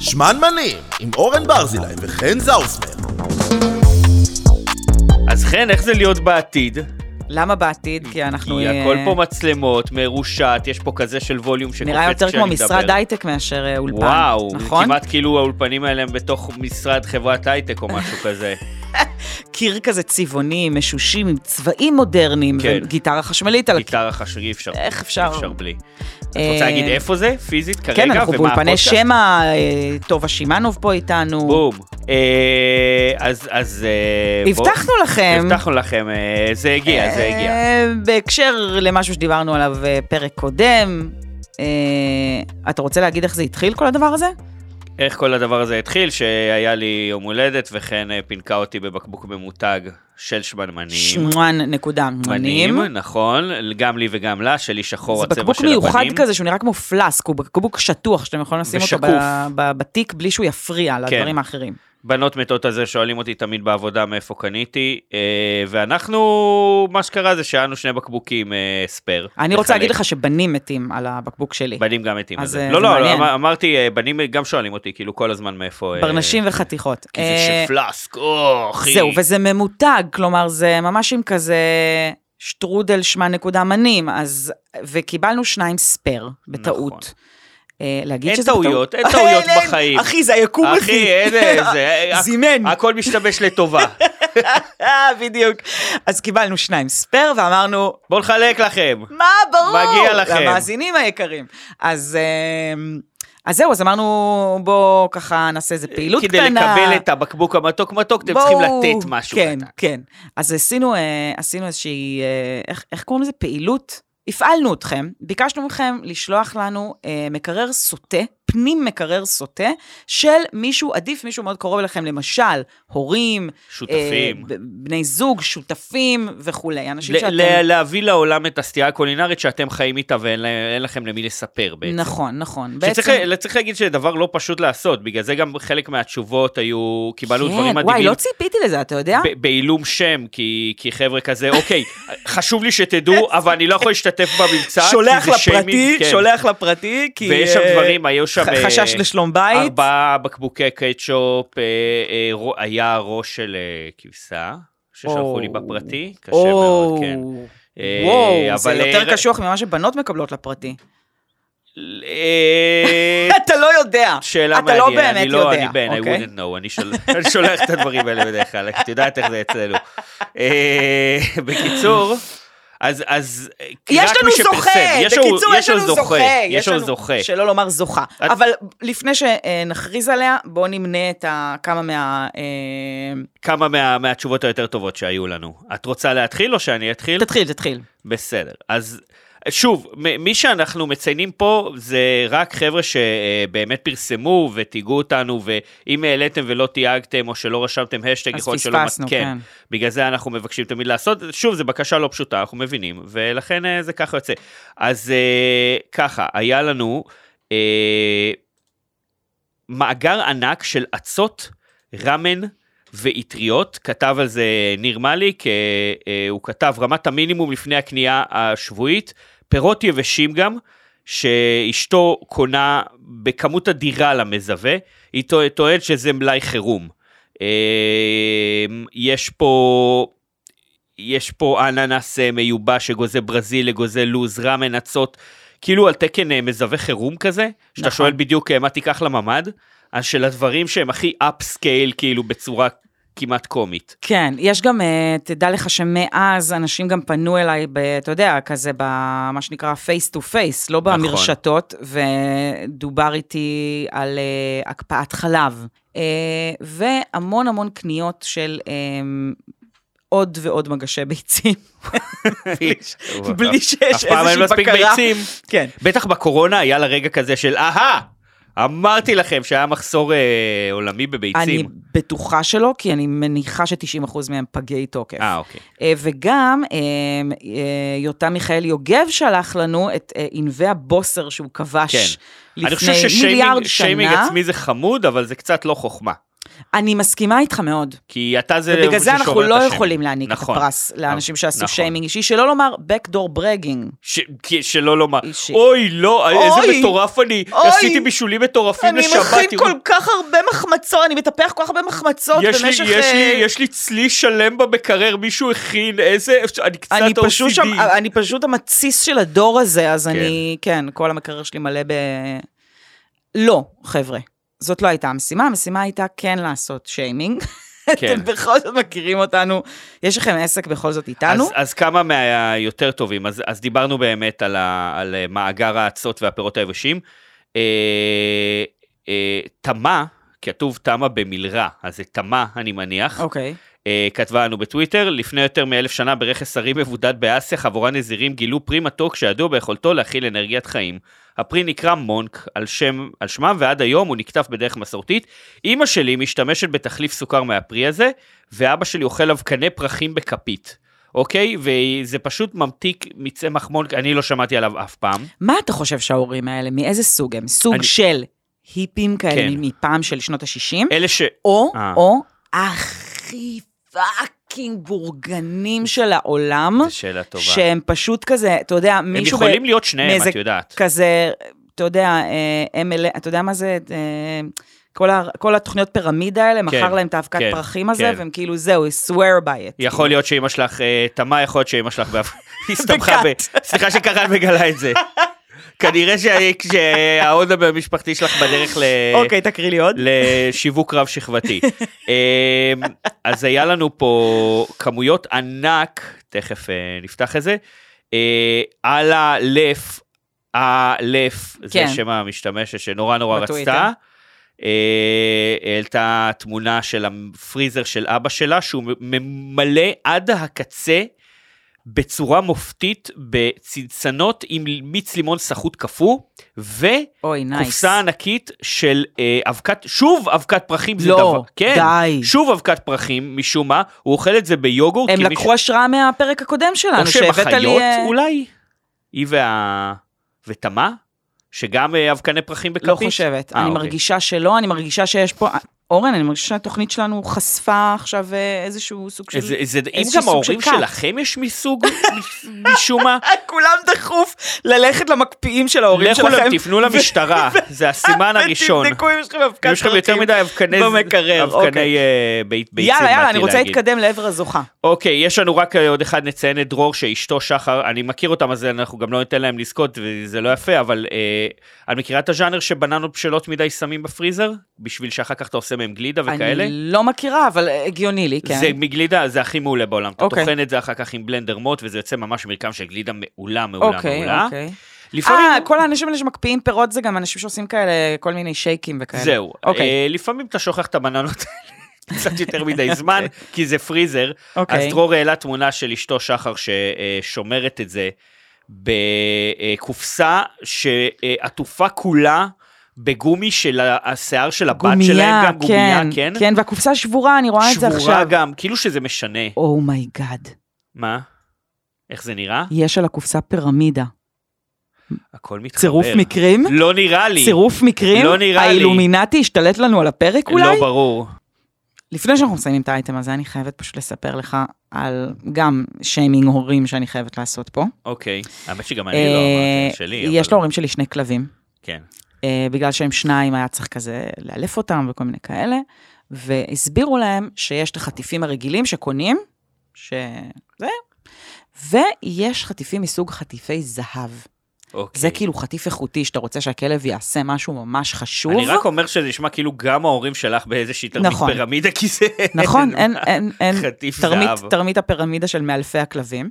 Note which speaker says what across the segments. Speaker 1: שמנמנים, עם אורן ברזילי וחן זאוסמן.
Speaker 2: אז חן, איך זה להיות בעתיד?
Speaker 3: למה בעתד? כי אנחנו...
Speaker 2: כי
Speaker 3: אה,
Speaker 2: הכל פה מצלמות, מרושת, יש פה כזה של ווליום שקופץ כשאני
Speaker 3: נראה
Speaker 2: מדבר.
Speaker 3: יותר כמו משרד הייטק מאשר אה, אולפן,
Speaker 2: וואו,
Speaker 3: נכון?
Speaker 2: כמעט כאילו האולפנים האלה הם בתוך משרד חברת הייטק או משהו כזה.
Speaker 3: אוקיי. קיר כזה צבעוני, משושים עם צבעים מודרניים,
Speaker 2: כן.
Speaker 3: וגיטרה חשמלית על הקיר.
Speaker 2: גיטרה חשוב, אי אפשר.
Speaker 3: איך אפשר?
Speaker 2: אי אפשר בלי. את
Speaker 3: אה,
Speaker 2: רוצה להגיד איפה זה? פיזית כרגע?
Speaker 3: כן, אנחנו
Speaker 2: ומה
Speaker 3: באולפני
Speaker 2: הפודקאסט?
Speaker 3: שמע, אה, טובה שמאנוב פה איתנו.
Speaker 2: בום. אה, אז, אז... אה, בוא-
Speaker 3: הבטחנו לכם.
Speaker 2: הבטחנו לכם, אה, זה הגיע, זה הגיע.
Speaker 3: אה, בהקשר למשהו שדיברנו עליו אה, פרק קודם, אה, אתה רוצה להגיד איך זה התחיל כל הדבר הזה?
Speaker 2: איך כל הדבר הזה התחיל? שהיה לי יום הולדת, וכן אה, פינקה אותי בבקבוק ממותג של שמנמנים.
Speaker 3: שמואן נקודה מנים.
Speaker 2: מנים, נכון, גם לי וגם לה, שלי שחור,
Speaker 3: זה
Speaker 2: הצבע
Speaker 3: בקבוק
Speaker 2: של הבנים.
Speaker 3: מיוחד כזה שהוא נראה כמו פלאסק, הוא בקבוק שטוח שאתם יכולים לשים אותו
Speaker 2: ושקוף. כן.
Speaker 3: ב- ב- בתיק בלי שהוא יפריע לדברים האחרים.
Speaker 2: בנות מתות על זה, שואלים אותי תמיד בעבודה מאיפה קניתי, אה, ואנחנו, מה שקרה זה שהיה שני בקבוקים אה, ספייר.
Speaker 3: אני רוצה
Speaker 2: לחלק.
Speaker 3: להגיד לך שבנים מתים על הבקבוק שלי.
Speaker 2: בנים גם מתים על
Speaker 3: אז,
Speaker 2: זה.
Speaker 3: אה,
Speaker 2: לא,
Speaker 3: זה
Speaker 2: לא,
Speaker 3: מעניין.
Speaker 2: אמר- אמרתי, אה, בנים גם שואלים אותי, כאילו, כל הזמן מאיפה... אה,
Speaker 3: ברנשים וחתיכות.
Speaker 2: כי זה
Speaker 3: אה,
Speaker 2: של פלאסק, או, אחי.
Speaker 3: זהו, וזה ממותג, כלומר זה ממש עם כזה שטרודל שמע נקודה מנים, אז, וקיבלנו שניים ספייר, בטעות.
Speaker 2: נכון.
Speaker 3: אה, להגיד
Speaker 2: אין
Speaker 3: שזה בטעות.
Speaker 2: טעויות, אין טעויות
Speaker 3: אין, אין.
Speaker 2: בחיים.
Speaker 3: אחי, זה היקום, אחי.
Speaker 2: אחי, אה, אין אה, איזה...
Speaker 3: זימן.
Speaker 2: הכל משתמש לטובה.
Speaker 3: אה, בדיוק. אז קיבלנו שניים ספייר, ואמרנו,
Speaker 2: בואו נחלק לכם.
Speaker 3: מה, ברור.
Speaker 2: מגיע לכם.
Speaker 3: למאזינים היקרים. אז... אמ, אז זהו, אז אמרנו, בואו ככה נעשה איזה פעילות
Speaker 2: כדי
Speaker 3: קטנה.
Speaker 2: לקבל את הבקבוק המתוק מתוק, אתם צריכים לתת משהו.
Speaker 3: כן,
Speaker 2: קטן.
Speaker 3: כן. אז עשינו, אה, עשינו איזושהי, אה, איך, איך קוראים לזה? פעילות. הפעלנו אתכם, ביקשנו מכם לשלוח לנו אה, מקרר סוטה, פנים מקרר סוטה, של מישהו עדיף, מישהו מאוד קרוב אליכם, למשל, הורים,
Speaker 2: שותפים.
Speaker 3: אה, ב- בני זוג, שותפים וכולי, אנשים
Speaker 2: ל-
Speaker 3: שאתם...
Speaker 2: ל- להביא לעולם את הסטייה הקולינרית שאתם חיים איתה ואין לה- אין לכם למי לספר בעצם.
Speaker 3: נכון, נכון.
Speaker 2: שצריך, צריך להגיד שזה דבר לא פשוט לעשות, בגלל זה גם חלק מהתשובות היו, קיבלנו דברים
Speaker 3: כן,
Speaker 2: מדהימים.
Speaker 3: וואי, לא ציפיתי לזה, אתה יודע?
Speaker 2: ב- בעילום שם, כי, כי חבר'ה כזה, אוקיי, חשוב לי שתדעו, אבל אני לא יכול להשתתף במבצע, כי זה שיימינג, כן.
Speaker 3: לפרטי, כי...
Speaker 2: ויש שם
Speaker 3: אה,
Speaker 2: דברים, היו שם...
Speaker 3: ח-
Speaker 2: אה,
Speaker 3: חשש לשלום בית.
Speaker 2: ארבעה בקבוקי קטשופ, אה, אה, רו- היה ראש של אה, כבשה, ששלחו לי
Speaker 3: או.
Speaker 2: בפרטי, קשה
Speaker 3: או,
Speaker 2: מאוד, כן. אה,
Speaker 3: וואו, זה
Speaker 2: אבל, אה, ר-
Speaker 3: יותר קשוח ממה שבנות מקבלות לפרטי.
Speaker 2: אה,
Speaker 3: אתה לא יודע.
Speaker 2: שאלה
Speaker 3: אתה לא
Speaker 2: מעניינת,
Speaker 3: באמת
Speaker 2: אני לא,
Speaker 3: יודע,
Speaker 2: אני בן, I
Speaker 3: אוקיי?
Speaker 2: wouldn't know, אני שול- אני שולח את הדברים האלה בדרך כלל, את יודעת איך זה אצלנו. אה, בקיצור, אז, אז, אה,
Speaker 3: יש
Speaker 2: רק
Speaker 3: לנו
Speaker 2: מי שפרסם,
Speaker 3: זוכה,
Speaker 2: יש לנו-
Speaker 3: בקיצור, יש לנו זוכה.
Speaker 2: יש לנו זוכה.
Speaker 3: שלא לומר זוכה.
Speaker 2: את-
Speaker 3: אבל לפני שנכריז עליה, בואו נמנה את ה- כמה מה... אה,
Speaker 2: כמה מה- מהתשובות היותר טובות שהיו לנו. את רוצה להתחיל או שאני אתחיל?
Speaker 3: תתחיל, תתחיל.
Speaker 2: בסדר. אז שוב, מ- מי שאנחנו מציינים פה זה רק חבר'ה שבאמת פרסמו ותיגעו אותנו, ואם העליתם ולא תייגתם או שלא רשמתם השטג,
Speaker 3: אז
Speaker 2: יכול להיות שלא...
Speaker 3: פספסנו, כן.
Speaker 2: בגלל זה אנחנו מבקשים תמיד לעשות, שוב, זו בקשה לא פשוטה, אנחנו מבינים, ולכן אה, זה ככה יוצא. אז אה, ככה, היה לנו אה, מאגר ענק של אצות, רמן ואטריות, כתב על זה ניר מליק, אה, אה, הוא כתב רמת המינימום לפני הקנייה השבועית, פירות יבשים גם. שאשתו קונה בכמות אדירה למזווה, היא טוע- טוענת שזה מלאי חירום. אמ, יש פה... יש פה אננס אה, מיובש שגוזה ברזיל לגוזה לוז, ראמן נצות, כאילו על תקן אה, מזווה חירום כזה, שאתה
Speaker 3: נכון.
Speaker 2: שואל בדיוק אה, מה תיקח לממ"ד, אז של הדברים שהם הכי אפסקייל כאילו בצורה כמעט קומית.
Speaker 3: כן, יש גם, אה, תדע לך שמאז אנשים גם פנו אליי, ב, אתה יודע, כזה במה שנקרא פייס טו פייס, לא
Speaker 2: נכון.
Speaker 3: במרשתות, ודובר איתי על אה, הקפאת חלב, אה, והמון המון קניות של אה, עוד ועוד מגשי ביצים, בלי שיש
Speaker 2: אף פעם אין
Speaker 3: איזושהי
Speaker 2: מספיק
Speaker 3: בקרה.
Speaker 2: ביצים.
Speaker 3: כן.
Speaker 2: בטח בקורונה היה לה רגע כזה של אהה, אמרתי לכם שהיה מחסור אה, עולמי
Speaker 3: אני
Speaker 2: בביצים.
Speaker 3: בטוחה שלא, כי אני מניחה ש-90% מהם פגי תוקף.
Speaker 2: אה, אוקיי.
Speaker 3: אה, וגם אה, אה, יותם מיכאל יוגב שלח לנו את אה, ענבי הבוסר שהוא כבש
Speaker 2: כן.
Speaker 3: לפני
Speaker 2: אני חושב ששיימינג
Speaker 3: מיליארד שנה.
Speaker 2: שיימינג עצמי זה חמוד, אבל זה קצת לא חוכמה.
Speaker 3: אני מסכימה איתך מאוד.
Speaker 2: כי אתה זה
Speaker 3: ובגלל זה
Speaker 2: ששובר
Speaker 3: אנחנו
Speaker 2: את
Speaker 3: לא
Speaker 2: השם.
Speaker 3: יכולים להעניק את
Speaker 2: נכון.
Speaker 3: הפרס לאנשים שעשו
Speaker 2: נכון.
Speaker 3: שיימינג אישי, שלא לומר backdoor bragging.
Speaker 2: ש... כי- שלא לומר,
Speaker 3: אישי.
Speaker 2: אוי, לא, איזה
Speaker 3: אוי.
Speaker 2: מטורף אני,
Speaker 3: אוי.
Speaker 2: עשיתי בישולים מטורפים
Speaker 3: אני
Speaker 2: לשבת.
Speaker 3: מכין
Speaker 2: תראו,
Speaker 3: כל כך הרבה מחמצות, אני מטפח כל כך הרבה מחמצות
Speaker 2: יש לי,
Speaker 3: במשך...
Speaker 2: יש, לי,
Speaker 3: אה,
Speaker 2: יש לי צלי שלם במקרר, מישהו הכין, איזה, אני קצת
Speaker 3: אני
Speaker 2: OCD.
Speaker 3: פשוט, שם, אני פשוט המתסיס של הדור הזה, אז כן. אני, כן, כל המקרר שלי מלא ב... לא, חבר'ה, זאת לא הייתה המשימה, המשימה הייתה כן לעשות שיימינג.
Speaker 2: כן.
Speaker 3: אתם בכל זאת מכירים אותנו, יש לכם עסק בכל זאת איתנו.
Speaker 2: אז, אז כמה מהיותר טובים, אז, אז דיברנו באמת על, ה, על אה, מאגר האצות והפירות היבשים. אה, אה, תמה, כתוב תמה במלרע, אז זה תמה אני מניח,
Speaker 3: אוקיי.
Speaker 2: אה, כתבה לנו בטוויטר, לפני יותר מאלף שנה ברכס הרים מבודד באסיה, חבורה נזירים גילו פרי מתוק שידוע ביכולתו להכיל אנרגיית חיים. הפרי נקרא מונק על, שם, על שמם, ועד היום הוא נקטף בדרך מסורתית. אימא שלי משתמשת בתחליף סוכר מהפרי הזה, ואבא שלי אוכל אבקני פרחים בכפית. אוקיי? וזה פשוט ממתיק מצמח מונק, אני לא שמעתי עליו אף פעם.
Speaker 3: מה אתה חושב שההורים האלה, מאיזה סוג הם? סוג
Speaker 2: אני-
Speaker 3: של היפים כאלה
Speaker 2: כן.
Speaker 3: מפעם של שנות ה-60?
Speaker 2: אלה ש...
Speaker 3: או,
Speaker 2: אה.
Speaker 3: או, הכי פאקינג בורגנים של העולם,
Speaker 2: זו שאלה טובה.
Speaker 3: שהם פשוט כזה, אתה יודע,
Speaker 2: הם
Speaker 3: מישהו... ב-
Speaker 2: יכולים להיות שניהם,
Speaker 3: מאיזה
Speaker 2: את יודעת.
Speaker 3: כזה, אתה יודע, אה, ML, אתה יודע מה זה? אה, כל, ה, כל התוכניות פירמידה האלה, מכר להם את האבקת
Speaker 2: כן,
Speaker 3: פרחים הזה,
Speaker 2: כן.
Speaker 3: והם כאילו, זהו, I swear by it.
Speaker 2: יכול להיות שאימא שלך אה, תמה, יכול להיות שאימא שלך באף... הסתמכה ב... סליחה שקרן מגלה את זה. כנראה שה- שההון המשפחתי שלך בדרך ל...
Speaker 3: אוקיי, תקריא לי עוד.
Speaker 2: לשיווק רב שכבתי. אמ, אז היה לנו פה כמויות ענק, תכף אה, נפתח את זה, אה, על הלף, הלף, זה
Speaker 3: כן.
Speaker 2: שם המשתמשת שנורא נורא
Speaker 3: בטוויטר.
Speaker 2: רצתה. אה, העלתה תמונה של הפריזר של אבא שלה, שהוא ממלא עד הקצה בצורה מופתית בצנצנות עם מיץ לימון סחוט קפוא, ו...
Speaker 3: אוי, נייס.
Speaker 2: קופסה ענקית של אה, אבקת, שוב אבקת פרחים זה
Speaker 3: לא,
Speaker 2: דבר, כן,
Speaker 3: די.
Speaker 2: שוב אבקת פרחים משום מה, הוא אוכל את זה ביוגורט,
Speaker 3: הם
Speaker 2: כי
Speaker 3: לקחו השראה מהפרק הקודם
Speaker 2: או
Speaker 3: שלנו,
Speaker 2: שהם
Speaker 3: שהבאת לי...
Speaker 2: אחיות
Speaker 3: אה,
Speaker 2: אולי, היא וה... ותמה, שגם אה, אבקני פרחים בכפית,
Speaker 3: לא חושבת.
Speaker 2: אה,
Speaker 3: אני
Speaker 2: אוקיי.
Speaker 3: מרגישה שלא, אני מרגישה שיש פה... אורן, אני מרגישה שהתוכנית שלנו חשפה עכשיו אה, איזשהו סוג של...
Speaker 2: אז זה- זה- אם
Speaker 3: איזשהו
Speaker 2: גם
Speaker 3: סוג
Speaker 2: ההורים
Speaker 3: של כת.
Speaker 2: שלכם יש מסוג, מ- משום מה,
Speaker 3: כולם דחוף ללכת למקפיאים של ההורים
Speaker 2: לכו,
Speaker 3: שלכם.
Speaker 2: להם, תפנו למשטרה, זה הסימן הראשון.
Speaker 3: ותבדקו אם יש לכם אבקת
Speaker 2: אם יש לכם יותר
Speaker 3: פרחים.
Speaker 2: מדי אבקני,
Speaker 3: במקרר,
Speaker 2: אבקני
Speaker 3: אוקיי.
Speaker 2: אה, בית- ביצים,
Speaker 3: יאללה, יאללה,
Speaker 2: באתי
Speaker 3: אני רוצה
Speaker 2: להגיד.
Speaker 3: להתקדם לעבר הזוכה.
Speaker 2: אוקיי, יש לנו רק אה, עוד אחד נציין את דרור שאשתו שחר, אני מכיר אותם אז אנחנו גם לא ניתן להם לזכות וזה לא יפה, אבל אה, את מכירה את הז'אנר שבננות בשלות מדי שמים בפריזר? בשביל שאחר כך אתה עושה מהם גלידה וכאלה?
Speaker 3: אני לא מכירה, אבל אה, הגיוני לי, כן.
Speaker 2: זה מגלידה, זה הכי מעולה בעולם. אתה
Speaker 3: אוקיי.
Speaker 2: טוחן את זה אחר כך עם בלנדר מוט וזה יוצא ממש מרקם של גלידה מעולה, מעולה,
Speaker 3: אוקיי,
Speaker 2: מעולה.
Speaker 3: אוקיי.
Speaker 2: לפעמים...
Speaker 3: אה, כל האנשים האלה שמקפיאים פירות זה גם אנשים שעושים כאלה, כל מיני שייקים וכאלה.
Speaker 2: זהו.
Speaker 3: אוקיי,
Speaker 2: אה, לפעמים אתה שוכח את הבננות האלה קצת יותר
Speaker 3: כן.
Speaker 2: מדי זמן, כי זה פריזר.
Speaker 3: אוקיי.
Speaker 2: אז דרור העלה תמונה של אשתו שחר ששומרת את זה בקופסה שעטופה כולה בגומי של ה- השיער של הבת שלהם, גם גומייה, כן?
Speaker 3: כן, והקופסה שבורה, אני רואה את זה
Speaker 2: שבורה
Speaker 3: עכשיו.
Speaker 2: גם, כאילו שזה משנה.
Speaker 3: אומייגאד,
Speaker 2: מה? איך זה נראה?
Speaker 3: יש על הקופסה פירמידה.
Speaker 2: הכל מתחבר.
Speaker 3: צירוף מקרים?
Speaker 2: לא נראה לי.
Speaker 3: צירוף מקרים?
Speaker 2: לא נראה לי.
Speaker 3: האילומינטי השתלט לנו על הפרק אולי?
Speaker 2: לא ברור.
Speaker 3: לפני שאנחנו מסיימים את האייטם הזה, אני חייבת פשוט לספר לך על גם שיימינג הורים שאני חייבת לעשות פה.
Speaker 2: אוקיי. האמת שגם אני לא אמרתי את שלי.
Speaker 3: אה, יש
Speaker 2: אבל-
Speaker 3: להורים שלי שני כלבים.
Speaker 2: כן.
Speaker 3: אה, בגלל שהם שניים היה צריך כזה לאלף אותם וכל מיני כאלה, והסבירו להם שיש את החטיפים הרגילים שקונים, שזה, ויש חטיפים מסוג חטיפי זהב.
Speaker 2: אוקיי.
Speaker 3: זה כאילו חטיף איכותי, שאתה רוצה שהכלב יעשה משהו ממש חשוב.
Speaker 2: אני רק אומר שזה נשמע כאילו גם ההורים שלך באיזושהי תרמית
Speaker 3: נכון.
Speaker 2: פירמידה, כי זה...
Speaker 3: נכון, אין, אין, אין,
Speaker 2: חטיף
Speaker 3: תרמית,
Speaker 2: זהב.
Speaker 3: תרמית הפירמידה של מאלפי הכלבים.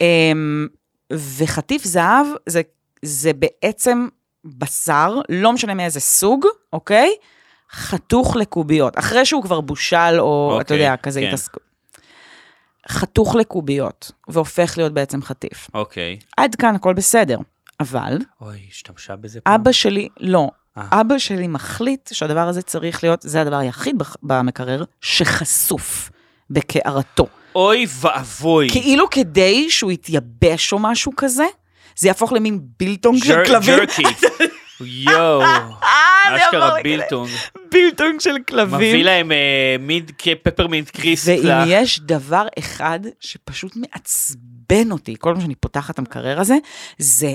Speaker 3: אמ, וחטיף זהב זה, זה בעצם בשר, לא משנה מאיזה סוג, אוקיי? חתוך לקוביות, אחרי שהוא כבר בושל או,
Speaker 2: אוקיי,
Speaker 3: אוקיי, אתה יודע, כזה
Speaker 2: כן.
Speaker 3: כן. התעסקות. חתוך לקוביות, והופך להיות בעצם חטיף.
Speaker 2: אוקיי.
Speaker 3: עד כאן הכל בסדר, אבל
Speaker 2: אוי, השתמשה בזה פעם.
Speaker 3: אבא שלי, לא.
Speaker 2: אה.
Speaker 3: אבא שלי מחליט שהדבר הזה צריך להיות, זה הדבר היחיד בח- במקרר שחשוף בקערתו.
Speaker 2: אוי ואבוי.
Speaker 3: כאילו כדי שהוא יתייבש או משהו כזה, זה יהפוך למין בילטונג של
Speaker 2: ג'ר-
Speaker 3: כלבים.
Speaker 2: ג'רקי. יואו.
Speaker 3: זה
Speaker 2: אשכרה
Speaker 3: עבר לכאלה.
Speaker 2: בילטונג.
Speaker 3: בילטונג של
Speaker 2: מביא
Speaker 3: כלבים.
Speaker 2: להם אה, מיד פפרמינט קריסט.
Speaker 3: ואם
Speaker 2: ל-
Speaker 3: יש דבר אחד שפשוט מעצבן אותי, כל פעם שאני פותחת את המקרר הזה, זה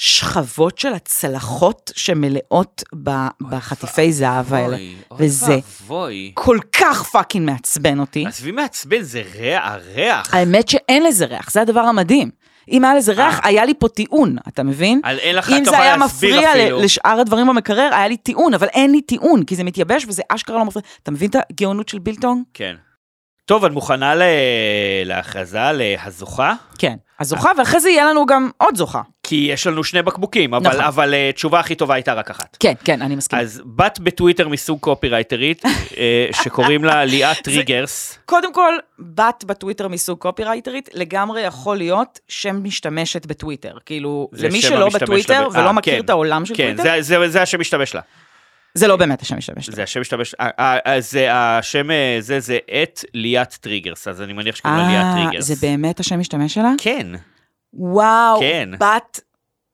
Speaker 3: השכבות של הצלחות שמלאות ב- בחטיפי זהב האלה.
Speaker 2: אוי, אוי
Speaker 3: וזה
Speaker 2: ואבוי.
Speaker 3: כל כך פאקינג מעצבן אותי.
Speaker 2: עזבי מעצבן, זה ריח, ריח.
Speaker 3: האמת שאין לזה ריח, זה הדבר המדהים. אם היה לזה ריח,
Speaker 2: אה.
Speaker 3: היה לי פה טיעון, אתה מבין?
Speaker 2: על אין לך
Speaker 3: אם זה
Speaker 2: כפה
Speaker 3: היה
Speaker 2: אה, להסביר
Speaker 3: מפריע ל-
Speaker 2: אפילו.
Speaker 3: לשאר הדברים במקרר, היה לי טיעון, אבל אין לי טיעון, כי זה מתייבש וזה אשכרה לא מפריע. אתה מבין את הגאונות של בילטונג?
Speaker 2: כן. טוב, את מוכנה ל... להכרזה, להזוכה?
Speaker 3: כן. אז זוכה,
Speaker 2: אה.
Speaker 3: ואחרי זה יהיה לנו גם עוד זוכה.
Speaker 2: כי יש לנו שני בקבוקים, אבל,
Speaker 3: נכון.
Speaker 2: אבל אה, תשובה הכי טובה הייתה רק אחת.
Speaker 3: כן, כן, אני מסכימה.
Speaker 2: אז בת בטוויטר מסוג קופירייטרית, אה, שקוראים לה ליאת טריגרס.
Speaker 3: קודם כל, בת בטוויטר מסוג קופירייטרית, לגמרי יכול להיות שם משתמשת בטוויטר. כאילו,
Speaker 2: זה
Speaker 3: למי
Speaker 2: שם
Speaker 3: שלא
Speaker 2: המשתמש
Speaker 3: בטוויטר
Speaker 2: לה ב-
Speaker 3: ולא
Speaker 2: אה,
Speaker 3: מכיר
Speaker 2: כן.
Speaker 3: את העולם של
Speaker 2: כן,
Speaker 3: טוויטר,
Speaker 2: זה- זה- זה השם משתמש לה.
Speaker 3: זה לא באמת השם משתמש.
Speaker 2: זה השם משתמש, אה, אה, אה, זה השם, אה, זה, זה את ליאת טריגרס, אז אני מניח שקוראים לה ליאת
Speaker 3: אה,
Speaker 2: טריגרס.
Speaker 3: זה באמת השם משתמש שלה?
Speaker 2: כן,
Speaker 3: וואו,
Speaker 2: כן.
Speaker 3: בת,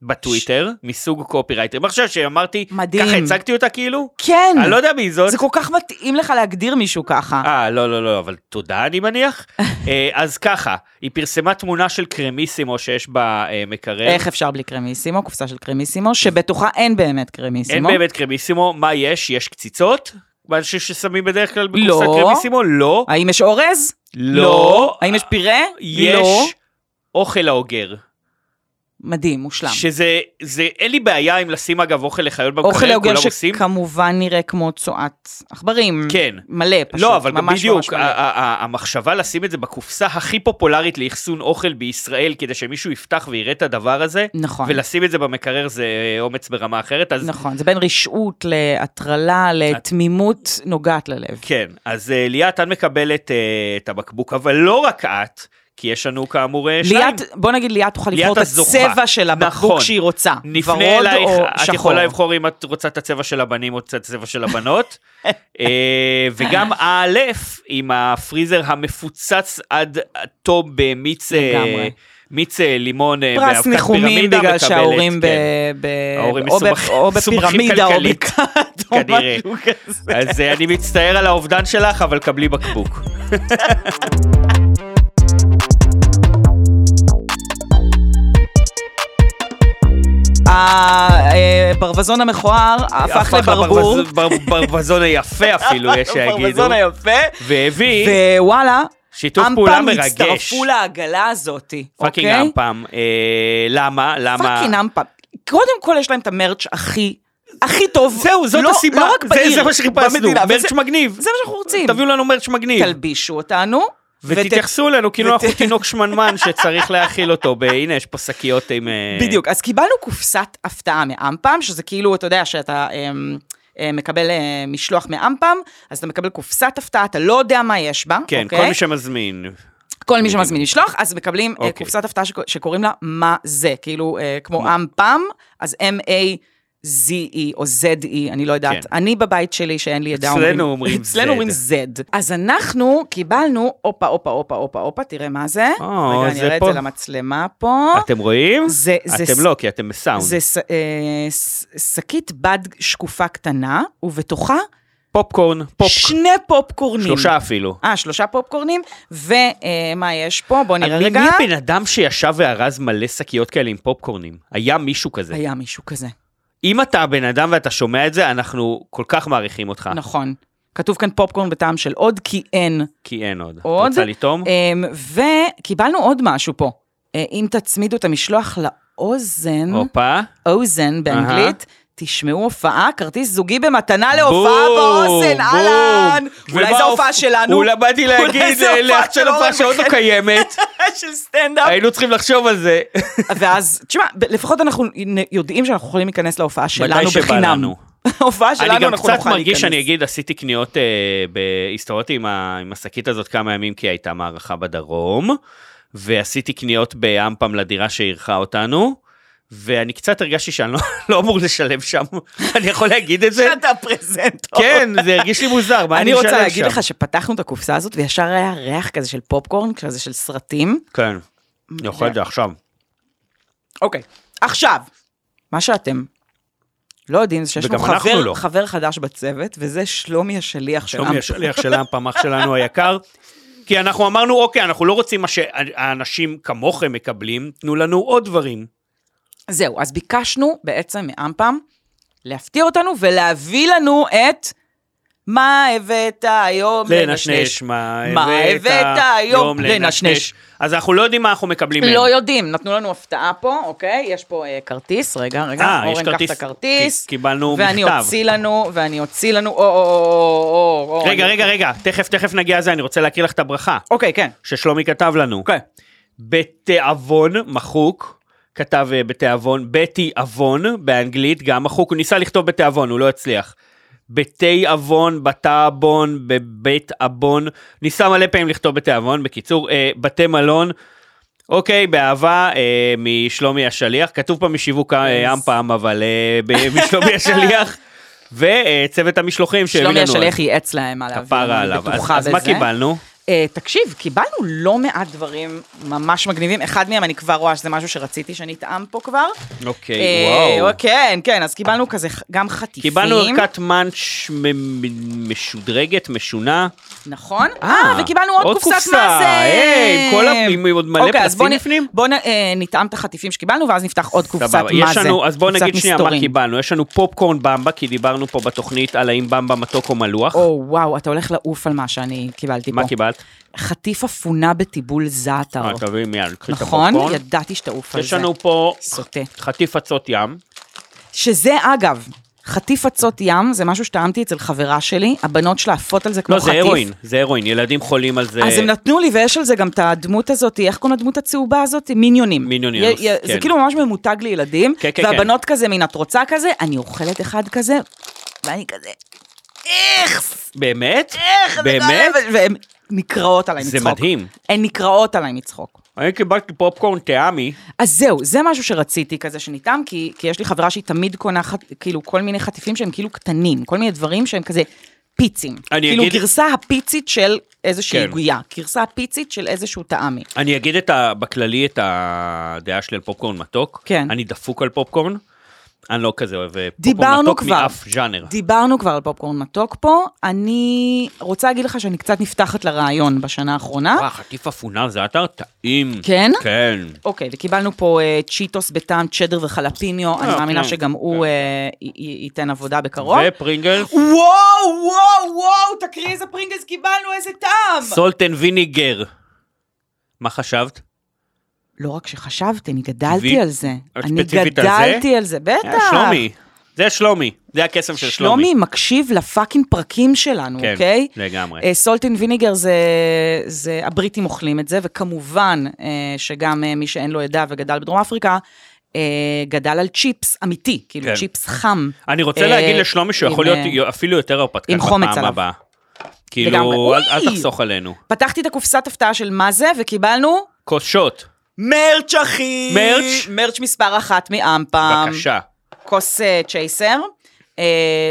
Speaker 2: בטוויטר, מסוג קופירייטר. ועכשיו שאמרתי,
Speaker 3: מדהים.
Speaker 2: ככה הצגתי אותה כאילו?
Speaker 3: כן.
Speaker 2: אני לא יודע מי זאת.
Speaker 3: זה כל כך מתאים לך להגדיר מישהו ככה.
Speaker 2: אה, לא, לא, לא, אבל תודה, אני מניח. אה, אז ככה, היא פרסמה תמונה של קרמיסימו שיש אה, במקרר.
Speaker 3: איך אפשר בלי קרמיסימו? קופסה של קרמיסימו, שבתוכה אין באמת קרמיסימו.
Speaker 2: אין באמת קרמיסימו, מה יש? יש קציצות? מה ש- ששמים בדרך כלל
Speaker 3: לא.
Speaker 2: בקופסת קרמיסימו? לא.
Speaker 3: האם יש אורז?
Speaker 2: לא.
Speaker 3: האם יש פירה? לא.
Speaker 2: יש אוכל האוגר.
Speaker 3: מדהים, מושלם.
Speaker 2: שזה, זה, אין לי בעיה אם לשים אגב אוכל לחיות במקרר,
Speaker 3: אוכל
Speaker 2: אוקיי, כולם
Speaker 3: העוגר
Speaker 2: עושים.
Speaker 3: שכמובן נראה כמו צואת עכברים.
Speaker 2: כן.
Speaker 3: מלא, פשוט.
Speaker 2: לא, אבל
Speaker 3: ממש ממש
Speaker 2: בדיוק,
Speaker 3: מלא.
Speaker 2: ה- ה- ה- המחשבה לשים את זה בקופסה הכי פופולרית לאחסון אוכל בישראל, כדי שמישהו יפתח ויראה את הדבר הזה,
Speaker 3: נכון.
Speaker 2: ולשים את זה במקרר זה אה, אומץ ברמה אחרת, אז
Speaker 3: נכון, זה בין רשעות להטרלה לתמימות נוגעת ללב.
Speaker 2: כן, אז אה, ליאת, את מקבלת אה, את הבקבוק, אבל לא רק את, כי יש לנו כאמור אה, שניים.
Speaker 3: ליאת, בוא נגיד ליאת תוכל
Speaker 2: ליאת
Speaker 3: לבחור את
Speaker 2: הזוכה.
Speaker 3: הצבע של הבקבוק
Speaker 2: נכון.
Speaker 3: שהיא רוצה. ורוד
Speaker 2: נפנה אלייך,
Speaker 3: או
Speaker 2: את
Speaker 3: שחור.
Speaker 2: יכולה לבחור אם את רוצה את הצבע של הבנים או את הצבע של הבנות. אה, וגם האלף עם הפריזר המפוצץ עד תום במיץ אה,
Speaker 3: לגמרי.
Speaker 2: מיץ אה, לימון אה,
Speaker 3: פרס
Speaker 2: באבקת
Speaker 3: ניחומים
Speaker 2: פירמידה
Speaker 3: בגלל
Speaker 2: מקבלת,
Speaker 3: שההורים ב...
Speaker 2: כן.
Speaker 3: ב...
Speaker 2: ההורים
Speaker 3: או ב-
Speaker 2: מסובך-
Speaker 3: או
Speaker 2: מסובכים
Speaker 3: בפירמידה או
Speaker 2: כלכלית,
Speaker 3: בכת או
Speaker 2: כנראה.
Speaker 3: משהו כזה.
Speaker 2: אז אה, אני מצטער על האובדן שלך, אבל קבלי בקבוק.
Speaker 3: הברווזון אה, המכוער הפך לברבור.
Speaker 2: לברווז- בר- ברווזון היפה אפילו, יש לא שיגידו.
Speaker 3: הברווזון היפה.
Speaker 2: והביא
Speaker 3: ווואלה,
Speaker 2: שיתוף פעולה
Speaker 3: אמפם
Speaker 2: מרגש.
Speaker 3: הצטרפו לעגלה הזאתי,
Speaker 2: פאקינג
Speaker 3: אוקיי?
Speaker 2: אמפם. אה, למה? למה?
Speaker 3: פאקינג אמפם. קודם כל יש להם את המרץ' הכי, הכי טוב.
Speaker 2: זהו, זאת
Speaker 3: לא-
Speaker 2: הסיבה.
Speaker 3: לא רק
Speaker 2: זה-
Speaker 3: בעיר,
Speaker 2: זה מה שחיפשנו,
Speaker 3: במדינה,
Speaker 2: מרץ'
Speaker 3: וזה-
Speaker 2: מגניב.
Speaker 3: זה מה שאנחנו רוצים.
Speaker 2: תביאו לנו מרץ' מגניב.
Speaker 3: תלבישו אותנו. ות-
Speaker 2: ותתייחסו אלינו כאילו
Speaker 3: ות-
Speaker 2: אנחנו תינוק שמנמן שצריך להאכיל אותו. ב- הנה, יש פה שקיות עם... אה,
Speaker 3: בדיוק, אז קיבלנו קופסת הפתעה מאמפם, שזה כאילו, אתה יודע, שאתה אמ, אה, מקבל אה, משלוח מאמפם, אז אתה מקבל קופסת הפתעה, אתה לא יודע מה יש בה,
Speaker 2: כן,
Speaker 3: אוקיי?
Speaker 2: כל מי שמזמין.
Speaker 3: כל מי שמזמין משלוח, אז מקבלים okay.
Speaker 2: אוקיי.
Speaker 3: קופסת הפתעה שקו- שקוראים לה מה זה, כאילו אה, כמו אמפם, אז M-A-Z-E או Z-E, אני לא יודעת.
Speaker 2: כן.
Speaker 3: אני בבית שלי, שאין לי ידע,
Speaker 2: אצלנו אומרים
Speaker 3: אצלנו אומרים Z. אז אנחנו קיבלנו, הופה, הופה, הופה, הופה, הופה, תראה מה זה.
Speaker 2: או,
Speaker 3: רגע, אני
Speaker 2: אה, זה
Speaker 3: אראה את
Speaker 2: פה.
Speaker 3: זה למצלמה פה.
Speaker 2: אתם רואים?
Speaker 3: אה, זה, זה,
Speaker 2: אתם לא, כי אתם בסאונד.
Speaker 3: זה ש- אה, ש- שקית בד שקופה קטנה, ובתוכה
Speaker 2: פופקורן, פופ.
Speaker 3: שני פופקורנים.
Speaker 2: שלושה אפילו.
Speaker 3: אה, שלושה פופקורנים, ומה יש פה? בואו נראה
Speaker 2: מי
Speaker 3: רגע.
Speaker 2: מי הבן אדם שישב וארז מלא שקיות כאלה עם פופקורנים? היה מישהו כזה.
Speaker 3: היה מישהו כזה,
Speaker 2: אם אתה הבן אדם ואתה שומע את זה, אנחנו כל כך מעריכים אותך.
Speaker 3: נכון. כתוב כאן פופקורן בטעם של עוד, כי אין.
Speaker 2: כי אין עוד.
Speaker 3: עוד?
Speaker 2: את רוצה לטעום?
Speaker 3: אמ, וקיבלנו עוד משהו פה. אה, אם תצמידו את המשלוח לאוזן,
Speaker 2: הופה.
Speaker 3: אוזן באנגלית, תשמעו הופעה, כרטיס זוגי במתנה להופעה
Speaker 2: בום,
Speaker 3: באוזן,
Speaker 2: בום.
Speaker 3: אולי אולי
Speaker 2: ומה
Speaker 3: זו הופעה
Speaker 2: הופ-
Speaker 3: שלנו.
Speaker 2: אולי באתי
Speaker 3: אולי
Speaker 2: להגיד,
Speaker 3: זו הופעה אוקיי. של
Speaker 2: לעכשיו הופעה
Speaker 3: אורן
Speaker 2: שעוד לא
Speaker 3: וחן.
Speaker 2: קיימת,
Speaker 3: של סטנדאפ.
Speaker 2: היינו צריכים לחשוב על זה.
Speaker 3: ואז, תשמע, ב- לפחות אנחנו נ- יודעים שאנחנו יכולים להיכנס להופעה שלנו
Speaker 2: שבא
Speaker 3: בחינם.
Speaker 2: לנו.
Speaker 3: ההופעה שלנו
Speaker 2: אני
Speaker 3: אנחנו לא
Speaker 2: גם
Speaker 3: נוכל להיכנס.
Speaker 2: קצת מרגיש שאני אגיד, עשיתי קניות, אה, ב- הסתובבתי עם ה- עם השקית הזאת כמה ימים, כי הייתה מערכה בדרום, ועשיתי קניות באמפם לדירה שאירחה אותנו. ואני קצת הרגשתי שאני לא, לא אמור לשלם שם, אני יכול להגיד את זה?
Speaker 3: שאתה פרזנטור.
Speaker 2: כן, זה הרגיש לי מוזר, מה אני
Speaker 3: אני
Speaker 2: משלם שם?
Speaker 3: רוצה להגיד לך שפתחנו את הקופסה הזאת וישר היה ריח כזה של פופקורן, כזה של סרטים.
Speaker 2: כן, אני אוכל את זה עכשיו.
Speaker 3: אוקיי. עכשיו, מה שאתם לא יודעים, זה שיש לנו
Speaker 2: וגם אנחנו
Speaker 3: חבר,
Speaker 2: לא.
Speaker 3: חבר חדש בצוות, וזה שלומי השליח של
Speaker 2: שלומי השליח של האמפם, אח שלנו היקר. כי אנחנו אמרנו, אוקיי, אנחנו לא רוצים מה שהאנשים כמוכם מקבלים, תנו לנו עוד דברים.
Speaker 3: זהו, אז ביקשנו בעצם מאמפם להפתיע אותנו ולהביא לנו את מה הבאת היום
Speaker 2: לנשנש, מה
Speaker 3: מה הבאת היום לנשנש.
Speaker 2: אז אנחנו לא יודעים מה אנחנו מקבלים מהם.
Speaker 3: לא יודעים, נתנו לנו הפתעה פה, אוקיי? יש פה אה, כרטיס, רגע, רגע,
Speaker 2: אה, יש
Speaker 3: אורן, קח את
Speaker 2: כרטיס.
Speaker 3: הכרטיס.
Speaker 2: כי- קיבלנו
Speaker 3: ואני
Speaker 2: מכתב.
Speaker 3: אוציא לנו, ואני אוציא לנו, או, או, או, או, או.
Speaker 2: רגע,
Speaker 3: אני-
Speaker 2: רגע, רגע, תכף, תכף נגיע לזה, אני רוצה להקריא לך את הברכה
Speaker 3: אוקיי, כן.
Speaker 2: ששלומי כתב לנו.
Speaker 3: אוקיי.
Speaker 2: בתיאבון, מחוק, כתב אה, בתיאבון, בתיאבון, באנגלית, גם מחוק, הוא ניסה לכתוב בתיאבון, הוא לא הצליח. בתיאבון, בתיאבון, בבית עוון, ניסה מלא פעמים לכתוב בתיאבון, בקיצור, אה, בתי מלון. אוקיי, באהבה אה, משלומי השליח, כתוב פה משיווק אה, עם פעם, אבל אה, ב- משלומי השליח, וצוות המשלוחים שהביא לנו.
Speaker 3: שלומי
Speaker 2: אז
Speaker 3: השליח ייעץ להם מה להביא,
Speaker 2: כפרה
Speaker 3: אני
Speaker 2: עליו. אז-
Speaker 3: בטוחה
Speaker 2: אז מה
Speaker 3: בזה.
Speaker 2: קיבלנו?
Speaker 3: אה, תקשיב, קיבלנו לא מעט דברים ממש מגניבים. אחד מהם, אני כבר רואה שזה משהו שרציתי שנטעם פה כבר.
Speaker 2: אוקיי,
Speaker 3: אה,
Speaker 2: וואו.
Speaker 3: כן, כן, אז קיבלנו כזה ח- גם חטיפים.
Speaker 2: קיבלנו ערכת מאנץ' מ- מ- משודרגת, משונה.
Speaker 3: נכון. אה, וקיבלנו עוד קופסת מאזן.
Speaker 2: היי, כל ה- עם עם עוד מלא
Speaker 3: אוקיי, אז בוא
Speaker 2: פלסים
Speaker 3: נ-
Speaker 2: בפנים.
Speaker 3: בוא נ- אה, נטעם את החטיפים שקיבלנו, ואז נפתח עוד קופסת
Speaker 2: סבבה,
Speaker 3: מאזן.
Speaker 2: יש לנו, אז בואו
Speaker 3: קופסת
Speaker 2: נגיד שנייה מה
Speaker 3: מסתורים.
Speaker 2: קיבלנו, יש לנו פופקורן במבה, כי דיברנו פה בתוכנית על האם במבה מתוק או מלוח.
Speaker 3: או, וואו, אתה הולך לעוף על מה שאני קיבלתי פה.
Speaker 2: מה קיבלת?
Speaker 3: חטיף אפונה בטיבול זעתר.
Speaker 2: אה, תביאי מיד, קחי את
Speaker 3: נכון?
Speaker 2: הפופקורן.
Speaker 3: ידעתי שתעוף על זה.
Speaker 2: יש לנו פה
Speaker 3: סוטה.
Speaker 2: חטיף עצות ים.
Speaker 3: שזה אגב, חטיף עצות ים, זה משהו שטעמתי אצל חברה שלי, הבנות שלה עפות על זה כמו
Speaker 2: לא,
Speaker 3: חטיף. אה,
Speaker 2: זה הרואין, זה הרואין, ילדים חולים על זה.
Speaker 3: אז הם נתנו לי, ויש על זה גם את הדמות הזאת, איך קוראים לדמות הצהובה הזאת? מיניונים.
Speaker 2: מיניונינוס,
Speaker 3: י- י- זה
Speaker 2: כן.
Speaker 3: כאילו ממש ממותג לילדים,
Speaker 2: כן, כן,
Speaker 3: והבנות כזה, מן את רוצה כזה, אני אוכלת אחד כזה, ואני כזה, איך,
Speaker 2: באמת?
Speaker 3: איך, זה
Speaker 2: באמת?
Speaker 3: כואב?" והן נקרעות עליי
Speaker 2: זה
Speaker 3: מצחוק.
Speaker 2: מדהים.
Speaker 3: הן נקרעות עליי מצחוק.
Speaker 2: אני קיבלתי פופקורן טעמי.
Speaker 3: אז זהו, זה משהו שרציתי כזה שנטעם, כי, כי יש לי חברה שהיא תמיד קונה חט, כאילו כל מיני חטיפים שהם כאילו קטנים, כל מיני דברים שהם כזה פיצים.
Speaker 2: אני
Speaker 3: כאילו
Speaker 2: אגיד-
Speaker 3: גרסה הפיצית של איזושהי
Speaker 2: כן.
Speaker 3: כן. עיגויה, גרסה הפיצית של איזשהו טעמי.
Speaker 2: אני אגיד את ה... בכללי את הדעה שלי על פופקורן מתוק.
Speaker 3: כן.
Speaker 2: אני דפוק על פופקורן. אני לא כזה אוהב אה, פופקורן
Speaker 3: דיברנו
Speaker 2: מתוק
Speaker 3: כבר.
Speaker 2: מאף ז'אנר.
Speaker 3: דיברנו כבר על פופקורן מתוק פה, אני רוצה להגיד לך שאני קצת נפתחת לרעיון בשנה האחרונה.
Speaker 2: וואו, חטיף אפונה זה אתר טעים.
Speaker 3: כן?
Speaker 2: כן.
Speaker 3: אוקיי, וקיבלנו פה אה, צ'יטוס בטעם צ'דר וחלפיניו, אני
Speaker 2: אה,
Speaker 3: מאמינה
Speaker 2: כן,
Speaker 3: שגם הוא אה, י- י- ייתן עבודה בקרוב.
Speaker 2: ופרינגלס,
Speaker 3: וואו, וואו, וואו, תקריא איזה פרינגלס קיבלנו, איזה טעם!
Speaker 2: סולט אנד ויניגר. מה חשבת?
Speaker 3: לא רק שחשבתי, אני גדלתי
Speaker 2: ו-
Speaker 3: על זה.
Speaker 2: את
Speaker 3: אני
Speaker 2: ספציפית על זה?
Speaker 3: גדלתי על זה, בטח.
Speaker 2: אה, שלומי. זה שלומי. זה הקסם של שלומי.
Speaker 3: שלומי מקשיב לפאקינג פרקים שלנו,
Speaker 2: כן,
Speaker 3: אוקיי?
Speaker 2: לגמרי.
Speaker 3: סולטין ויניגר זה, זה, הבריטים אוכלים את זה, וכמובן אה, שגם אה, מי שאין לו עדה וגדל בדרום אפריקה, אה, גדל על צ'יפס אמיתי, כאילו
Speaker 2: כן.
Speaker 3: צ'יפס חם.
Speaker 2: אני רוצה
Speaker 3: אה,
Speaker 2: להגיד לשלומי שהוא יכול
Speaker 3: עם, אה,
Speaker 2: להיות יו- אפילו יותר הרפתקן
Speaker 3: עם חומץ
Speaker 2: בפעם
Speaker 3: עליו.
Speaker 2: הבאה.
Speaker 3: לגמרי.
Speaker 2: כאילו, אל אל
Speaker 3: אוי!
Speaker 2: תחסוך עלינו.
Speaker 3: פתחתי את הקופסת הפתעה של מה זה, וקיבלנו
Speaker 2: כוס שוט,
Speaker 3: מרץ' אחי!
Speaker 2: מרץ'?
Speaker 3: מרץ' מספר אחת מאמפם.
Speaker 2: בבקשה.
Speaker 3: כוס אה, צ'ייסר, אה,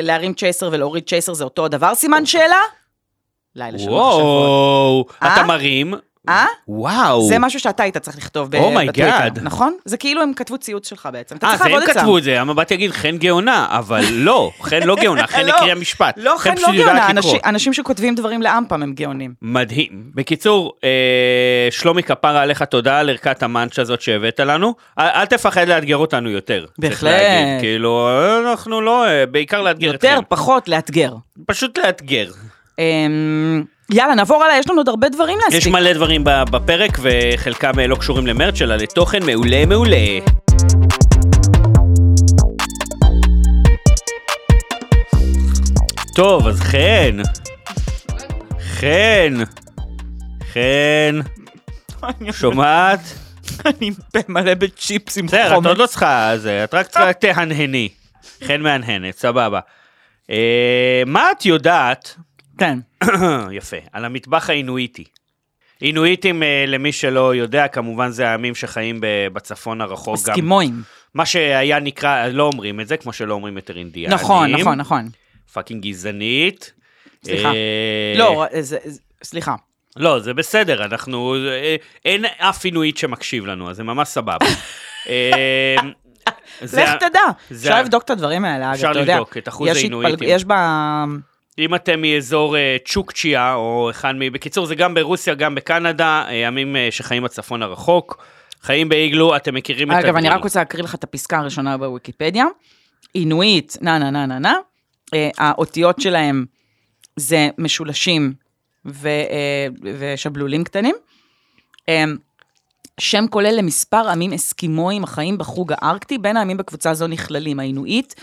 Speaker 3: להרים צ'ייסר ולהוריד צ'ייסר זה אותו הדבר, סימן שאלה? לילה של מחשבות.
Speaker 2: אוקיי. וואו,
Speaker 3: אה?
Speaker 2: אתה מרים,
Speaker 3: אה?
Speaker 2: וואו.
Speaker 3: זה משהו שאתה היית צריך לכתוב ב-
Speaker 2: Oh my
Speaker 3: בטוויטר,
Speaker 2: God.
Speaker 3: נכון? זה כאילו הם כתבו ציוץ שלך בעצם. אתה
Speaker 2: אה,
Speaker 3: צריך
Speaker 2: זה הם
Speaker 3: לעבוד אצלם.
Speaker 2: כתבו את זה, המבט יגיד חן גאונה, אבל לא, חן לא גאונה, חן
Speaker 3: לא,
Speaker 2: הקריאה משפט.
Speaker 3: לא, חן לא
Speaker 2: פשוט יודעת
Speaker 3: גאונה,
Speaker 2: לקרוא.
Speaker 3: אנשים- אנשים שכותבים דברים לאמפם הם גאונים.
Speaker 2: מדהים. בקיצור, אה, שלומי כפרה עליך תודה על ערכת המאנץ' הזאת שהבאת לנו. אל- אל תפחד לאתגר אותנו יותר. צריך
Speaker 3: בהחלט.
Speaker 2: להגיד. כאילו, אה, אנחנו לא, אה, בעיקר לאתגר אתכם.
Speaker 3: יותר, פחות, לאתגר.
Speaker 2: פשוט לאתגר.
Speaker 3: אמ, יאללה, נעבור עליי, יש לנו עוד הרבה דברים
Speaker 2: יש
Speaker 3: להספיק.
Speaker 2: מלא דברים ב- בפרק, וחלקם אה, לא קשורים למרץ, אלא לתוכן מעולה מעולה. טוב, אז חן. חן. חן. שומעת?
Speaker 3: אני פה מלא בצ'יפס עם
Speaker 2: בסדר, את
Speaker 3: חומץ.
Speaker 2: עוד לא צריכה זה, את רק צריכה תהנהני. חן מהנהנת, סבבה. אה, מה את יודעת
Speaker 3: כן.
Speaker 2: יפה, על המטבח האינואיטי. אינואיטים, אה, למי שלא יודע, כמובן זה העמים שחיים ב- בצפון הרחוק גם.
Speaker 3: אסקימואים.
Speaker 2: מה שהיה נקרא, לא אומרים את זה, כמו שלא אומרים יותר אינדיאנים.
Speaker 3: נכון, נכון, נכון.
Speaker 2: פאקינג גזענית.
Speaker 3: סליחה.
Speaker 2: אה,
Speaker 3: לא, זה- זה- סליחה.
Speaker 2: לא, זה בסדר, אנחנו... אה, אין אף עינואיט שמקשיב לנו, אז זה ממש סבבה. אה, זה
Speaker 3: לך
Speaker 2: ה-
Speaker 3: תדע.
Speaker 2: זה
Speaker 3: אפשר
Speaker 2: ה-
Speaker 3: לבדוק את הדברים האלה, אגב,
Speaker 2: אפשר
Speaker 3: אתה יודע.
Speaker 2: לבדוק את אחוז
Speaker 3: יש
Speaker 2: העינויטים.
Speaker 3: התפל- יש בה...
Speaker 2: אם אתם מאזור אה, צ'וקצ'יה, או אחד מ... בקיצור, זה גם ברוסיה, גם בקנדה, אה, עמים אה, שחיים בצפון הרחוק, חיים באיגלו, אתם מכירים את
Speaker 3: אגב, אני רק רוצה להקריא לך את הפסקה הראשונה בוויקיפדיה. עינואית, נה נה נה נה נה. אה, האותיות שלהם זה משולשים ו- אה, ושבלולים קטנים. אה, שם כולל למספר עמים אסקימואים החיים בחוג הארקטי, בין העמים בקבוצה זו נכללים העינואית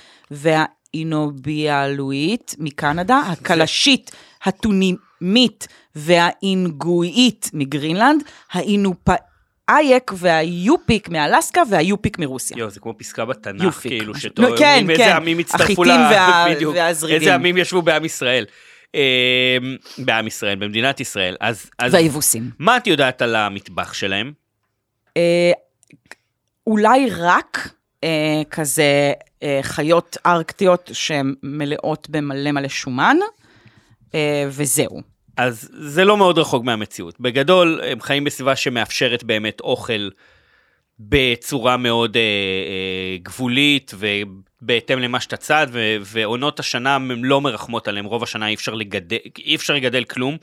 Speaker 3: והאינוביאלואית מקנדה, הקלשית, הטונימית והאינגואית מגרינלנד, האינופאייק והיופיק מאלסקה והיופיק מרוסיה.
Speaker 2: יואו, זה כמו פסקה בתנ"ך,
Speaker 3: יופיק,
Speaker 2: כאילו,
Speaker 3: משהו.
Speaker 2: שתואם
Speaker 3: נו, כן,
Speaker 2: עם איזה
Speaker 3: כן.
Speaker 2: עמים הצטרפו
Speaker 3: החיטים וה-
Speaker 2: בדיוק.
Speaker 3: והזרידים.
Speaker 2: איזה עמים ישבו בעם ישראל. אה, בעם ישראל, במדינת ישראל. אז, אז
Speaker 3: והיבוסים.
Speaker 2: מה את יודעת על המטבח שלהם?
Speaker 3: אה, אולי רק אה, כזה אה, חיות ארקטיות שהן מלאות במלא מלא שומן, אה, וזהו.
Speaker 2: אז זה לא מאוד רחוק מהמציאות. בגדול, הם חיים בסביבה שמאפשרת באמת אוכל בצורה מאוד אה, אה, גבולית ובהתאם למה שאתה צד, ו- ועונות השנה הן לא מרחמות עליהם, רוב השנה אי אפשר לגדל, אי אפשר לגדל כלום.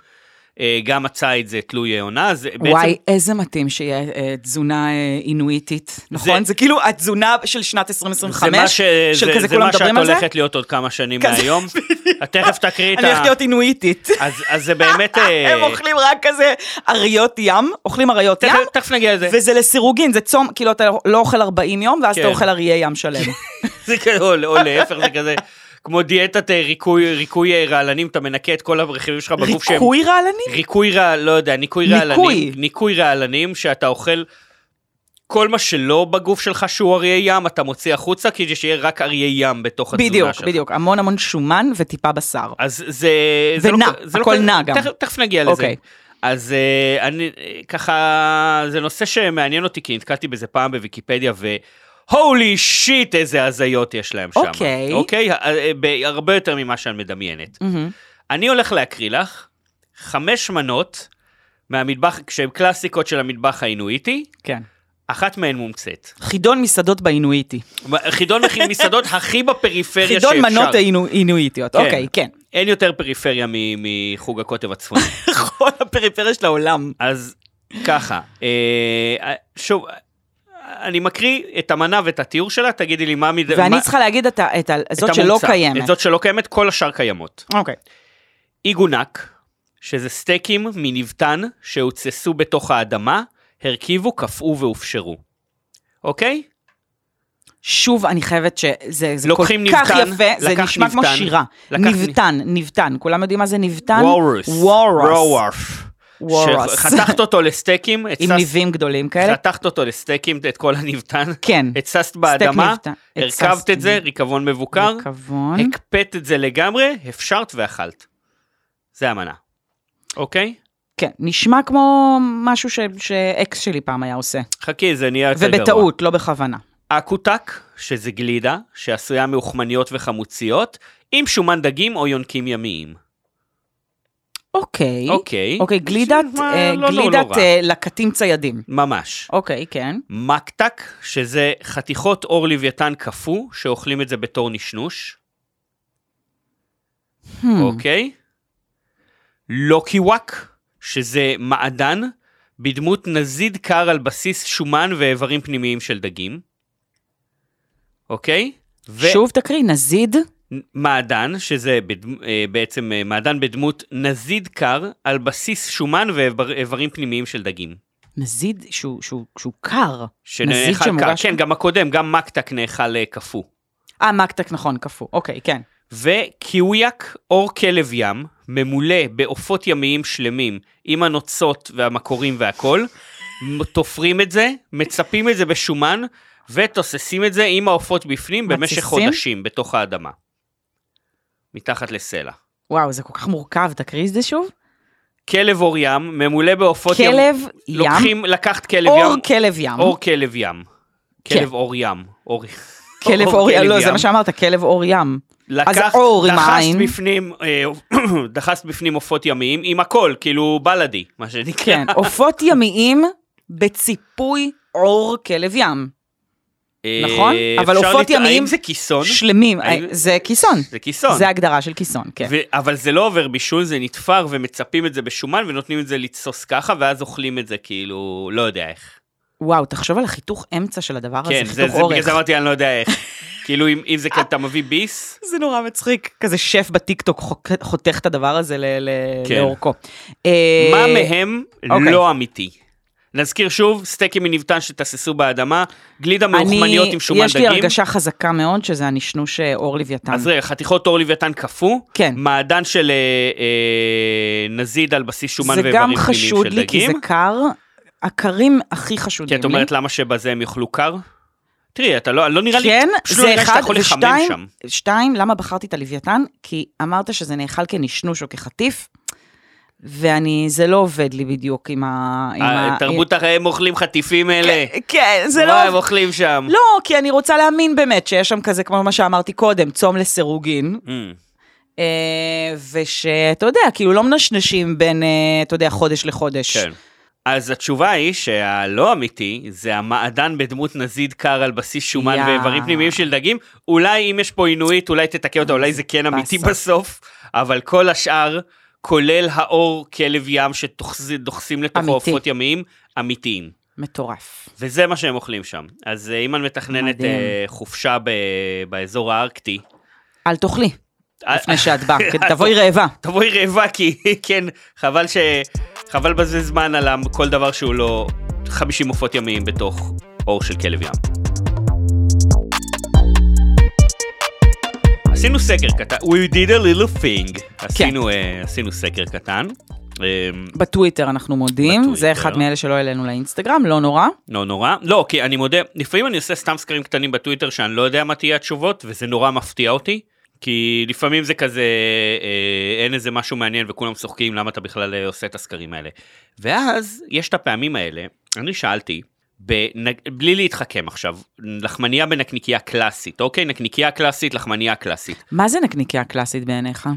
Speaker 2: אה, גם הציד זה תלוי עונה, אז בעצם...
Speaker 3: וואי, איזה מתאים שיהיה אה, תזונה אה, אינואיטית, נכון? זה כאילו התזונה של שנת 2025,
Speaker 2: זה מה, ש...
Speaker 3: של
Speaker 2: זה,
Speaker 3: כזה
Speaker 2: זה
Speaker 3: כולם
Speaker 2: מה שאת
Speaker 3: מדברים על זה?
Speaker 2: הולכת להיות עוד כמה שנים
Speaker 3: כזה,
Speaker 2: מהיום. את תכף תקריא את ה...
Speaker 3: אני הולכת להיות אינואיטית.
Speaker 2: אז, אז זה באמת... אה,
Speaker 3: הם אוכלים רק כזה אריות ים, אוכלים אריות
Speaker 2: תכף,
Speaker 3: ים,
Speaker 2: תכף נגיע לזה.
Speaker 3: וזה לסירוגין, זה צום, כאילו אתה לא אוכל 40 יום, ואז אתה
Speaker 2: כן.
Speaker 3: אוכל אריה ים שלם.
Speaker 2: זה כזה, או, או להפך, זה כזה כמו דיאטת אה, ריקוי, ריקוי אה, רעלנים, אתה מנקה את כל הרכיבים שלך בגוף שהם...
Speaker 3: ריקוי רעלנים?
Speaker 2: ריקוי רעל... לא יודע, ניקוי
Speaker 3: ניקוי.
Speaker 2: רעלנים. ניקוי רעלנים, שאתה אוכל כל מה שלא בגוף שלך שהוא אריה ים, אתה מוציא החוצה, כדי שיהיה רק אריה ים בתוך התזונה
Speaker 3: בדיוק,
Speaker 2: שלך.
Speaker 3: בדיוק. המון המון שומן וטיפה בשר.
Speaker 2: אז זה... זה
Speaker 3: ונע,
Speaker 2: לא, זה
Speaker 3: הכל
Speaker 2: לא,
Speaker 3: נע גם.
Speaker 2: תכף, תכף נגיע לזה.
Speaker 3: אוקיי.
Speaker 2: אז אה, אני אה, ככה, זה נושא שמעניין אותי, כי נתקלתי בזה פעם בוויקיפדיה, ו... הולי שיט, איזה הזיות יש להם שם.
Speaker 3: אוקיי.
Speaker 2: אוקיי? אה, אה, ב- הרבה יותר ממה שאני מדמיינת.
Speaker 3: מהמם.
Speaker 2: אני הולך להקריא לך חמש מנות מהמטבח, שהן קלאסיקות של המטבח האינואיטי,
Speaker 3: כן.
Speaker 2: אחת מהן מומצאת.
Speaker 3: חידון מסעדות באינואיטי.
Speaker 2: חידון מכין מסעדות הכי בפריפריה שאפשר.
Speaker 3: חידון מנות האינו- אינואיטיות,
Speaker 2: כן.
Speaker 3: אוקיי, כן.
Speaker 2: אין יותר פריפריה מ- מחוג הקוטב הצפוני. נכון,
Speaker 3: כל הפריפריה של העולם.
Speaker 2: אז ככה, אה, שוב, אני מקריא את המנה ואת התיאור שלה, תגידי לי מה מזה...
Speaker 3: ואני
Speaker 2: מה-
Speaker 3: צריכה להגיד את ה- את ה-
Speaker 2: את
Speaker 3: זאת שלא
Speaker 2: המומצא.
Speaker 3: קיימת.
Speaker 2: את זאת שלא קיימת, כל השאר קיימות.
Speaker 3: אוקיי.
Speaker 2: איגונק, שזה סטייקים מנבטן שהוצסו בתוך האדמה, הרכיבו, קפאו והופשרו. אוקיי?
Speaker 3: שוב, אני חייבת שזה זה כל
Speaker 2: לוקחים
Speaker 3: כך
Speaker 2: נבטן,
Speaker 3: יפה, זה
Speaker 2: לקח
Speaker 3: נשמע כמו
Speaker 2: נבטן,
Speaker 3: שירה.
Speaker 2: לקח-
Speaker 3: נבטן, נבטן, כולם יודעים מה זה נבטן?
Speaker 2: וורס.
Speaker 3: וורס.
Speaker 2: וורף.
Speaker 3: וורס.
Speaker 2: שחתכת אותו לסטייקים,
Speaker 3: עם
Speaker 2: התססת-
Speaker 3: ניבים גדולים כאלה.
Speaker 2: חתכת אותו לסטייקים, את כל הנבטן,
Speaker 3: כן.
Speaker 2: התססת באדמה,
Speaker 3: נבטן,
Speaker 2: הרכבת
Speaker 3: התססתי.
Speaker 2: את זה, ריקבון מבוקר,
Speaker 3: ריקבון.
Speaker 2: הקפאת את זה לגמרי, הפשרת ואכלת. זה המנה, אוקיי?
Speaker 3: כן, נשמע כמו משהו ש- שאקס שלי פעם היה עושה.
Speaker 2: חכי, זה נהיה יותר גרוע.
Speaker 3: ובטעות, לא בכוונה.
Speaker 2: אקוטק, שזה גלידה, שעשויה מאוכמניות וחמוציות, עם שומן דגים או יונקים ימיים.
Speaker 3: אוקיי.
Speaker 2: אוקיי.
Speaker 3: אוקיי, גלידת,
Speaker 2: מה,
Speaker 3: אה,
Speaker 2: לא, לא, לא
Speaker 3: גלידת
Speaker 2: רע.
Speaker 3: אה, לקטים ציידים.
Speaker 2: ממש.
Speaker 3: אוקיי, כן.
Speaker 2: מקטק, שזה חתיכות אור לוויתן קפוא, שאוכלים את זה בתור נשנוש,
Speaker 3: Hmm,
Speaker 2: אוקיי? לוקיוואק, שזה מעדן, בדמות נזיד קר על בסיס שומן ואיברים פנימיים של דגים, אוקיי? ו-
Speaker 3: שוב תקריא, נזיד.
Speaker 2: מעדן, שזה בד... אה, בעצם אה, מעדן בדמות נזיד קר על בסיס שומן ואיברים פנימיים של דגים.
Speaker 3: נזיד שהוא- שהוא שהוא קר. נזיד
Speaker 2: שנאכל קר,
Speaker 3: שמוגש-
Speaker 2: כן, גם הקודם, גם מקטק נאכל אה, קפוא.
Speaker 3: אה, מקטק נכון, קפוא. אוקיי, כן.
Speaker 2: וקיוויאק, אור כלב ים, ממולא בעופות ימיים שלמים, עם הנוצות והמקורים והכל, מ- תופרים את זה, מצפים את זה בשומן, ותוססים את זה עם העופות בפנים במשך
Speaker 3: מתסיסים?
Speaker 2: חודשים, בתוך האדמה. מתחת לסלע.
Speaker 3: וואו, זה כל כך מורכב, תקריא את זה שוב.
Speaker 2: כלב אור ים, ממולא בעופות ים...
Speaker 3: כלב ים,
Speaker 2: לוקחים, לקחת כלב
Speaker 3: אור
Speaker 2: ים,
Speaker 3: כלב ים.
Speaker 2: אור כלב ים.
Speaker 3: כן.
Speaker 2: כלב אור ים. אור-
Speaker 3: כלב אור ים, לא, זה מה שאמרת, כלב אור ים.
Speaker 2: לקחת-
Speaker 3: אז אור עם
Speaker 2: דחסת
Speaker 3: העין.
Speaker 2: בפנים, אה, דחסת בפנים עופות ימיים עם הכל, כאילו בלאדי, מה שנקרא.
Speaker 3: כן, עופות ימיים בציפוי עור כלב ים.
Speaker 2: אה,
Speaker 3: נכון, אבל
Speaker 2: אפשר
Speaker 3: עופות
Speaker 2: לטע-
Speaker 3: ימיים-
Speaker 2: האם זה כיסון?
Speaker 3: שלמים, אה,
Speaker 2: האם-
Speaker 3: זה כיסון.
Speaker 2: זה נכון. אה, כיסון.
Speaker 3: זה הגדרה של כיסון, כן.
Speaker 2: ו- אבל זה לא עובר בישול, זה נתפר ומצפים את זה בשומן ונותנים את זה לתסוס ככה, ואז אוכלים את זה כאילו, לא יודע איך.
Speaker 3: וואו, תחשוב על החיתוך אמצע של הדבר הזה,
Speaker 2: כן, זה,
Speaker 3: חיתוך
Speaker 2: זה בגלל
Speaker 3: אורך.
Speaker 2: זה אמרתי, אני לא יודע איך. כאילו, אם, אם זה כאילו אתה מביא ביס,
Speaker 3: זה נורא מצחיק, כזה שף בטיקטוק חוק- חותך את הדבר הזה ל- ל-
Speaker 2: כן.
Speaker 3: לאורכו. אה,
Speaker 2: מה מהם
Speaker 3: אוקיי.
Speaker 2: לא אמיתי? נזכיר שוב, סטייקים מנבטן שתססו באדמה, גלידה מאוחמניות עם שומן
Speaker 3: יש
Speaker 2: דגים.
Speaker 3: לי הרגשה חזקה מאוד שזה הנשנוש אה, אור לוויתן.
Speaker 2: אז רגע, חתיכות אור לוויתן קפוא,
Speaker 3: כן.
Speaker 2: מעדן של אה, אה, נזיד על בסיס שומן
Speaker 3: זה
Speaker 2: ואיברים
Speaker 3: גם
Speaker 2: פנימיים של דגים.
Speaker 3: חשוד לי, כי זה קר. הקרים
Speaker 2: כי
Speaker 3: הכי חשודים אה?
Speaker 2: את
Speaker 3: לי.
Speaker 2: אומרת למה שבזה הם יאכלו קר? תראי, אתה לא, לא נראה לי,
Speaker 3: כן,
Speaker 2: פשוט לא
Speaker 3: זה
Speaker 2: נראה שאתה
Speaker 3: אחד,
Speaker 2: יכול לחמם
Speaker 3: ושתיים,
Speaker 2: שם.
Speaker 3: שתיים, למה בחרתי את הלוויתן? כי אמרת שזה נאכל כנשנוש או כחטיף, ואני, זה לא עובד לי בדיוק עם ה... עם ה-
Speaker 2: התרבות הרי הם אוכלים חטיפים אלה.
Speaker 3: כן, זה
Speaker 2: מה
Speaker 3: לא...
Speaker 2: הם אוכלים שם?
Speaker 3: לא, כי אני רוצה להאמין באמת שיש שם כזה, כמו מה שאמרתי קודם, צום לסירוגין,
Speaker 2: Mm.
Speaker 3: אה, ושאתה יודע, כאילו לא מנשנשים בין, אה, אתה יודע, חודש לחודש.
Speaker 2: כן. אז התשובה היא שהלא אמיתי זה המעדן בדמות נזיד קר על בסיס שומן
Speaker 3: יא.
Speaker 2: ואיברים פנימיים של דגים. אולי אם יש פה עינויית, אולי תתקן אותה, אולי זה כן אמיתי
Speaker 3: באסה.
Speaker 2: בסוף, אבל כל השאר, כולל האור כלב ים שדוחסים לתוכו
Speaker 3: אמיתי.
Speaker 2: עופות ימיים, אמיתיים.
Speaker 3: מטורף.
Speaker 2: וזה מה שהם אוכלים שם. אז אה, אם את מתכננת
Speaker 3: מדהים.
Speaker 2: אה, חופשה ב- באזור הארקטי,
Speaker 3: אל תאכלי
Speaker 2: אה,
Speaker 3: לפני שאת באה, כי תבואי רעבה.
Speaker 2: תבואי רעבה, כי כן, חבל ש... חבל בזה זמן על המ- כל דבר שהוא לא 50 עופות ימיים בתוך אור של כלב ים. עשינו סקר קטן, we did a little thing. עשינו, אה, עשינו סקר קטן. אה,
Speaker 3: בטוויטר אנחנו מודים, זה
Speaker 2: בטוויטר.
Speaker 3: אחד מאלה שלא העלינו לאינסטגרם, לא נורא.
Speaker 2: לא נורא. לא, כי אני מודה, לפעמים אני עושה סתם סקרים קטנים בטוויטר שאני לא יודע מה תהיה התשובות, וזה נורא מפתיע אותי. כי לפעמים זה כזה, אה, אין איזה משהו מעניין וכולם צוחקים למה אתה בכלל אה, עושה את הסקרים האלה. ואז יש את הפעמים האלה, אני שאלתי, בנ... בלי להתחכם עכשיו, לחמניה בנקניקייה קלאסית, אוקיי? נקניקייה קלאסית, לחמניה קלאסית.
Speaker 3: מה זה נקניקיה קלאסית בעיניך?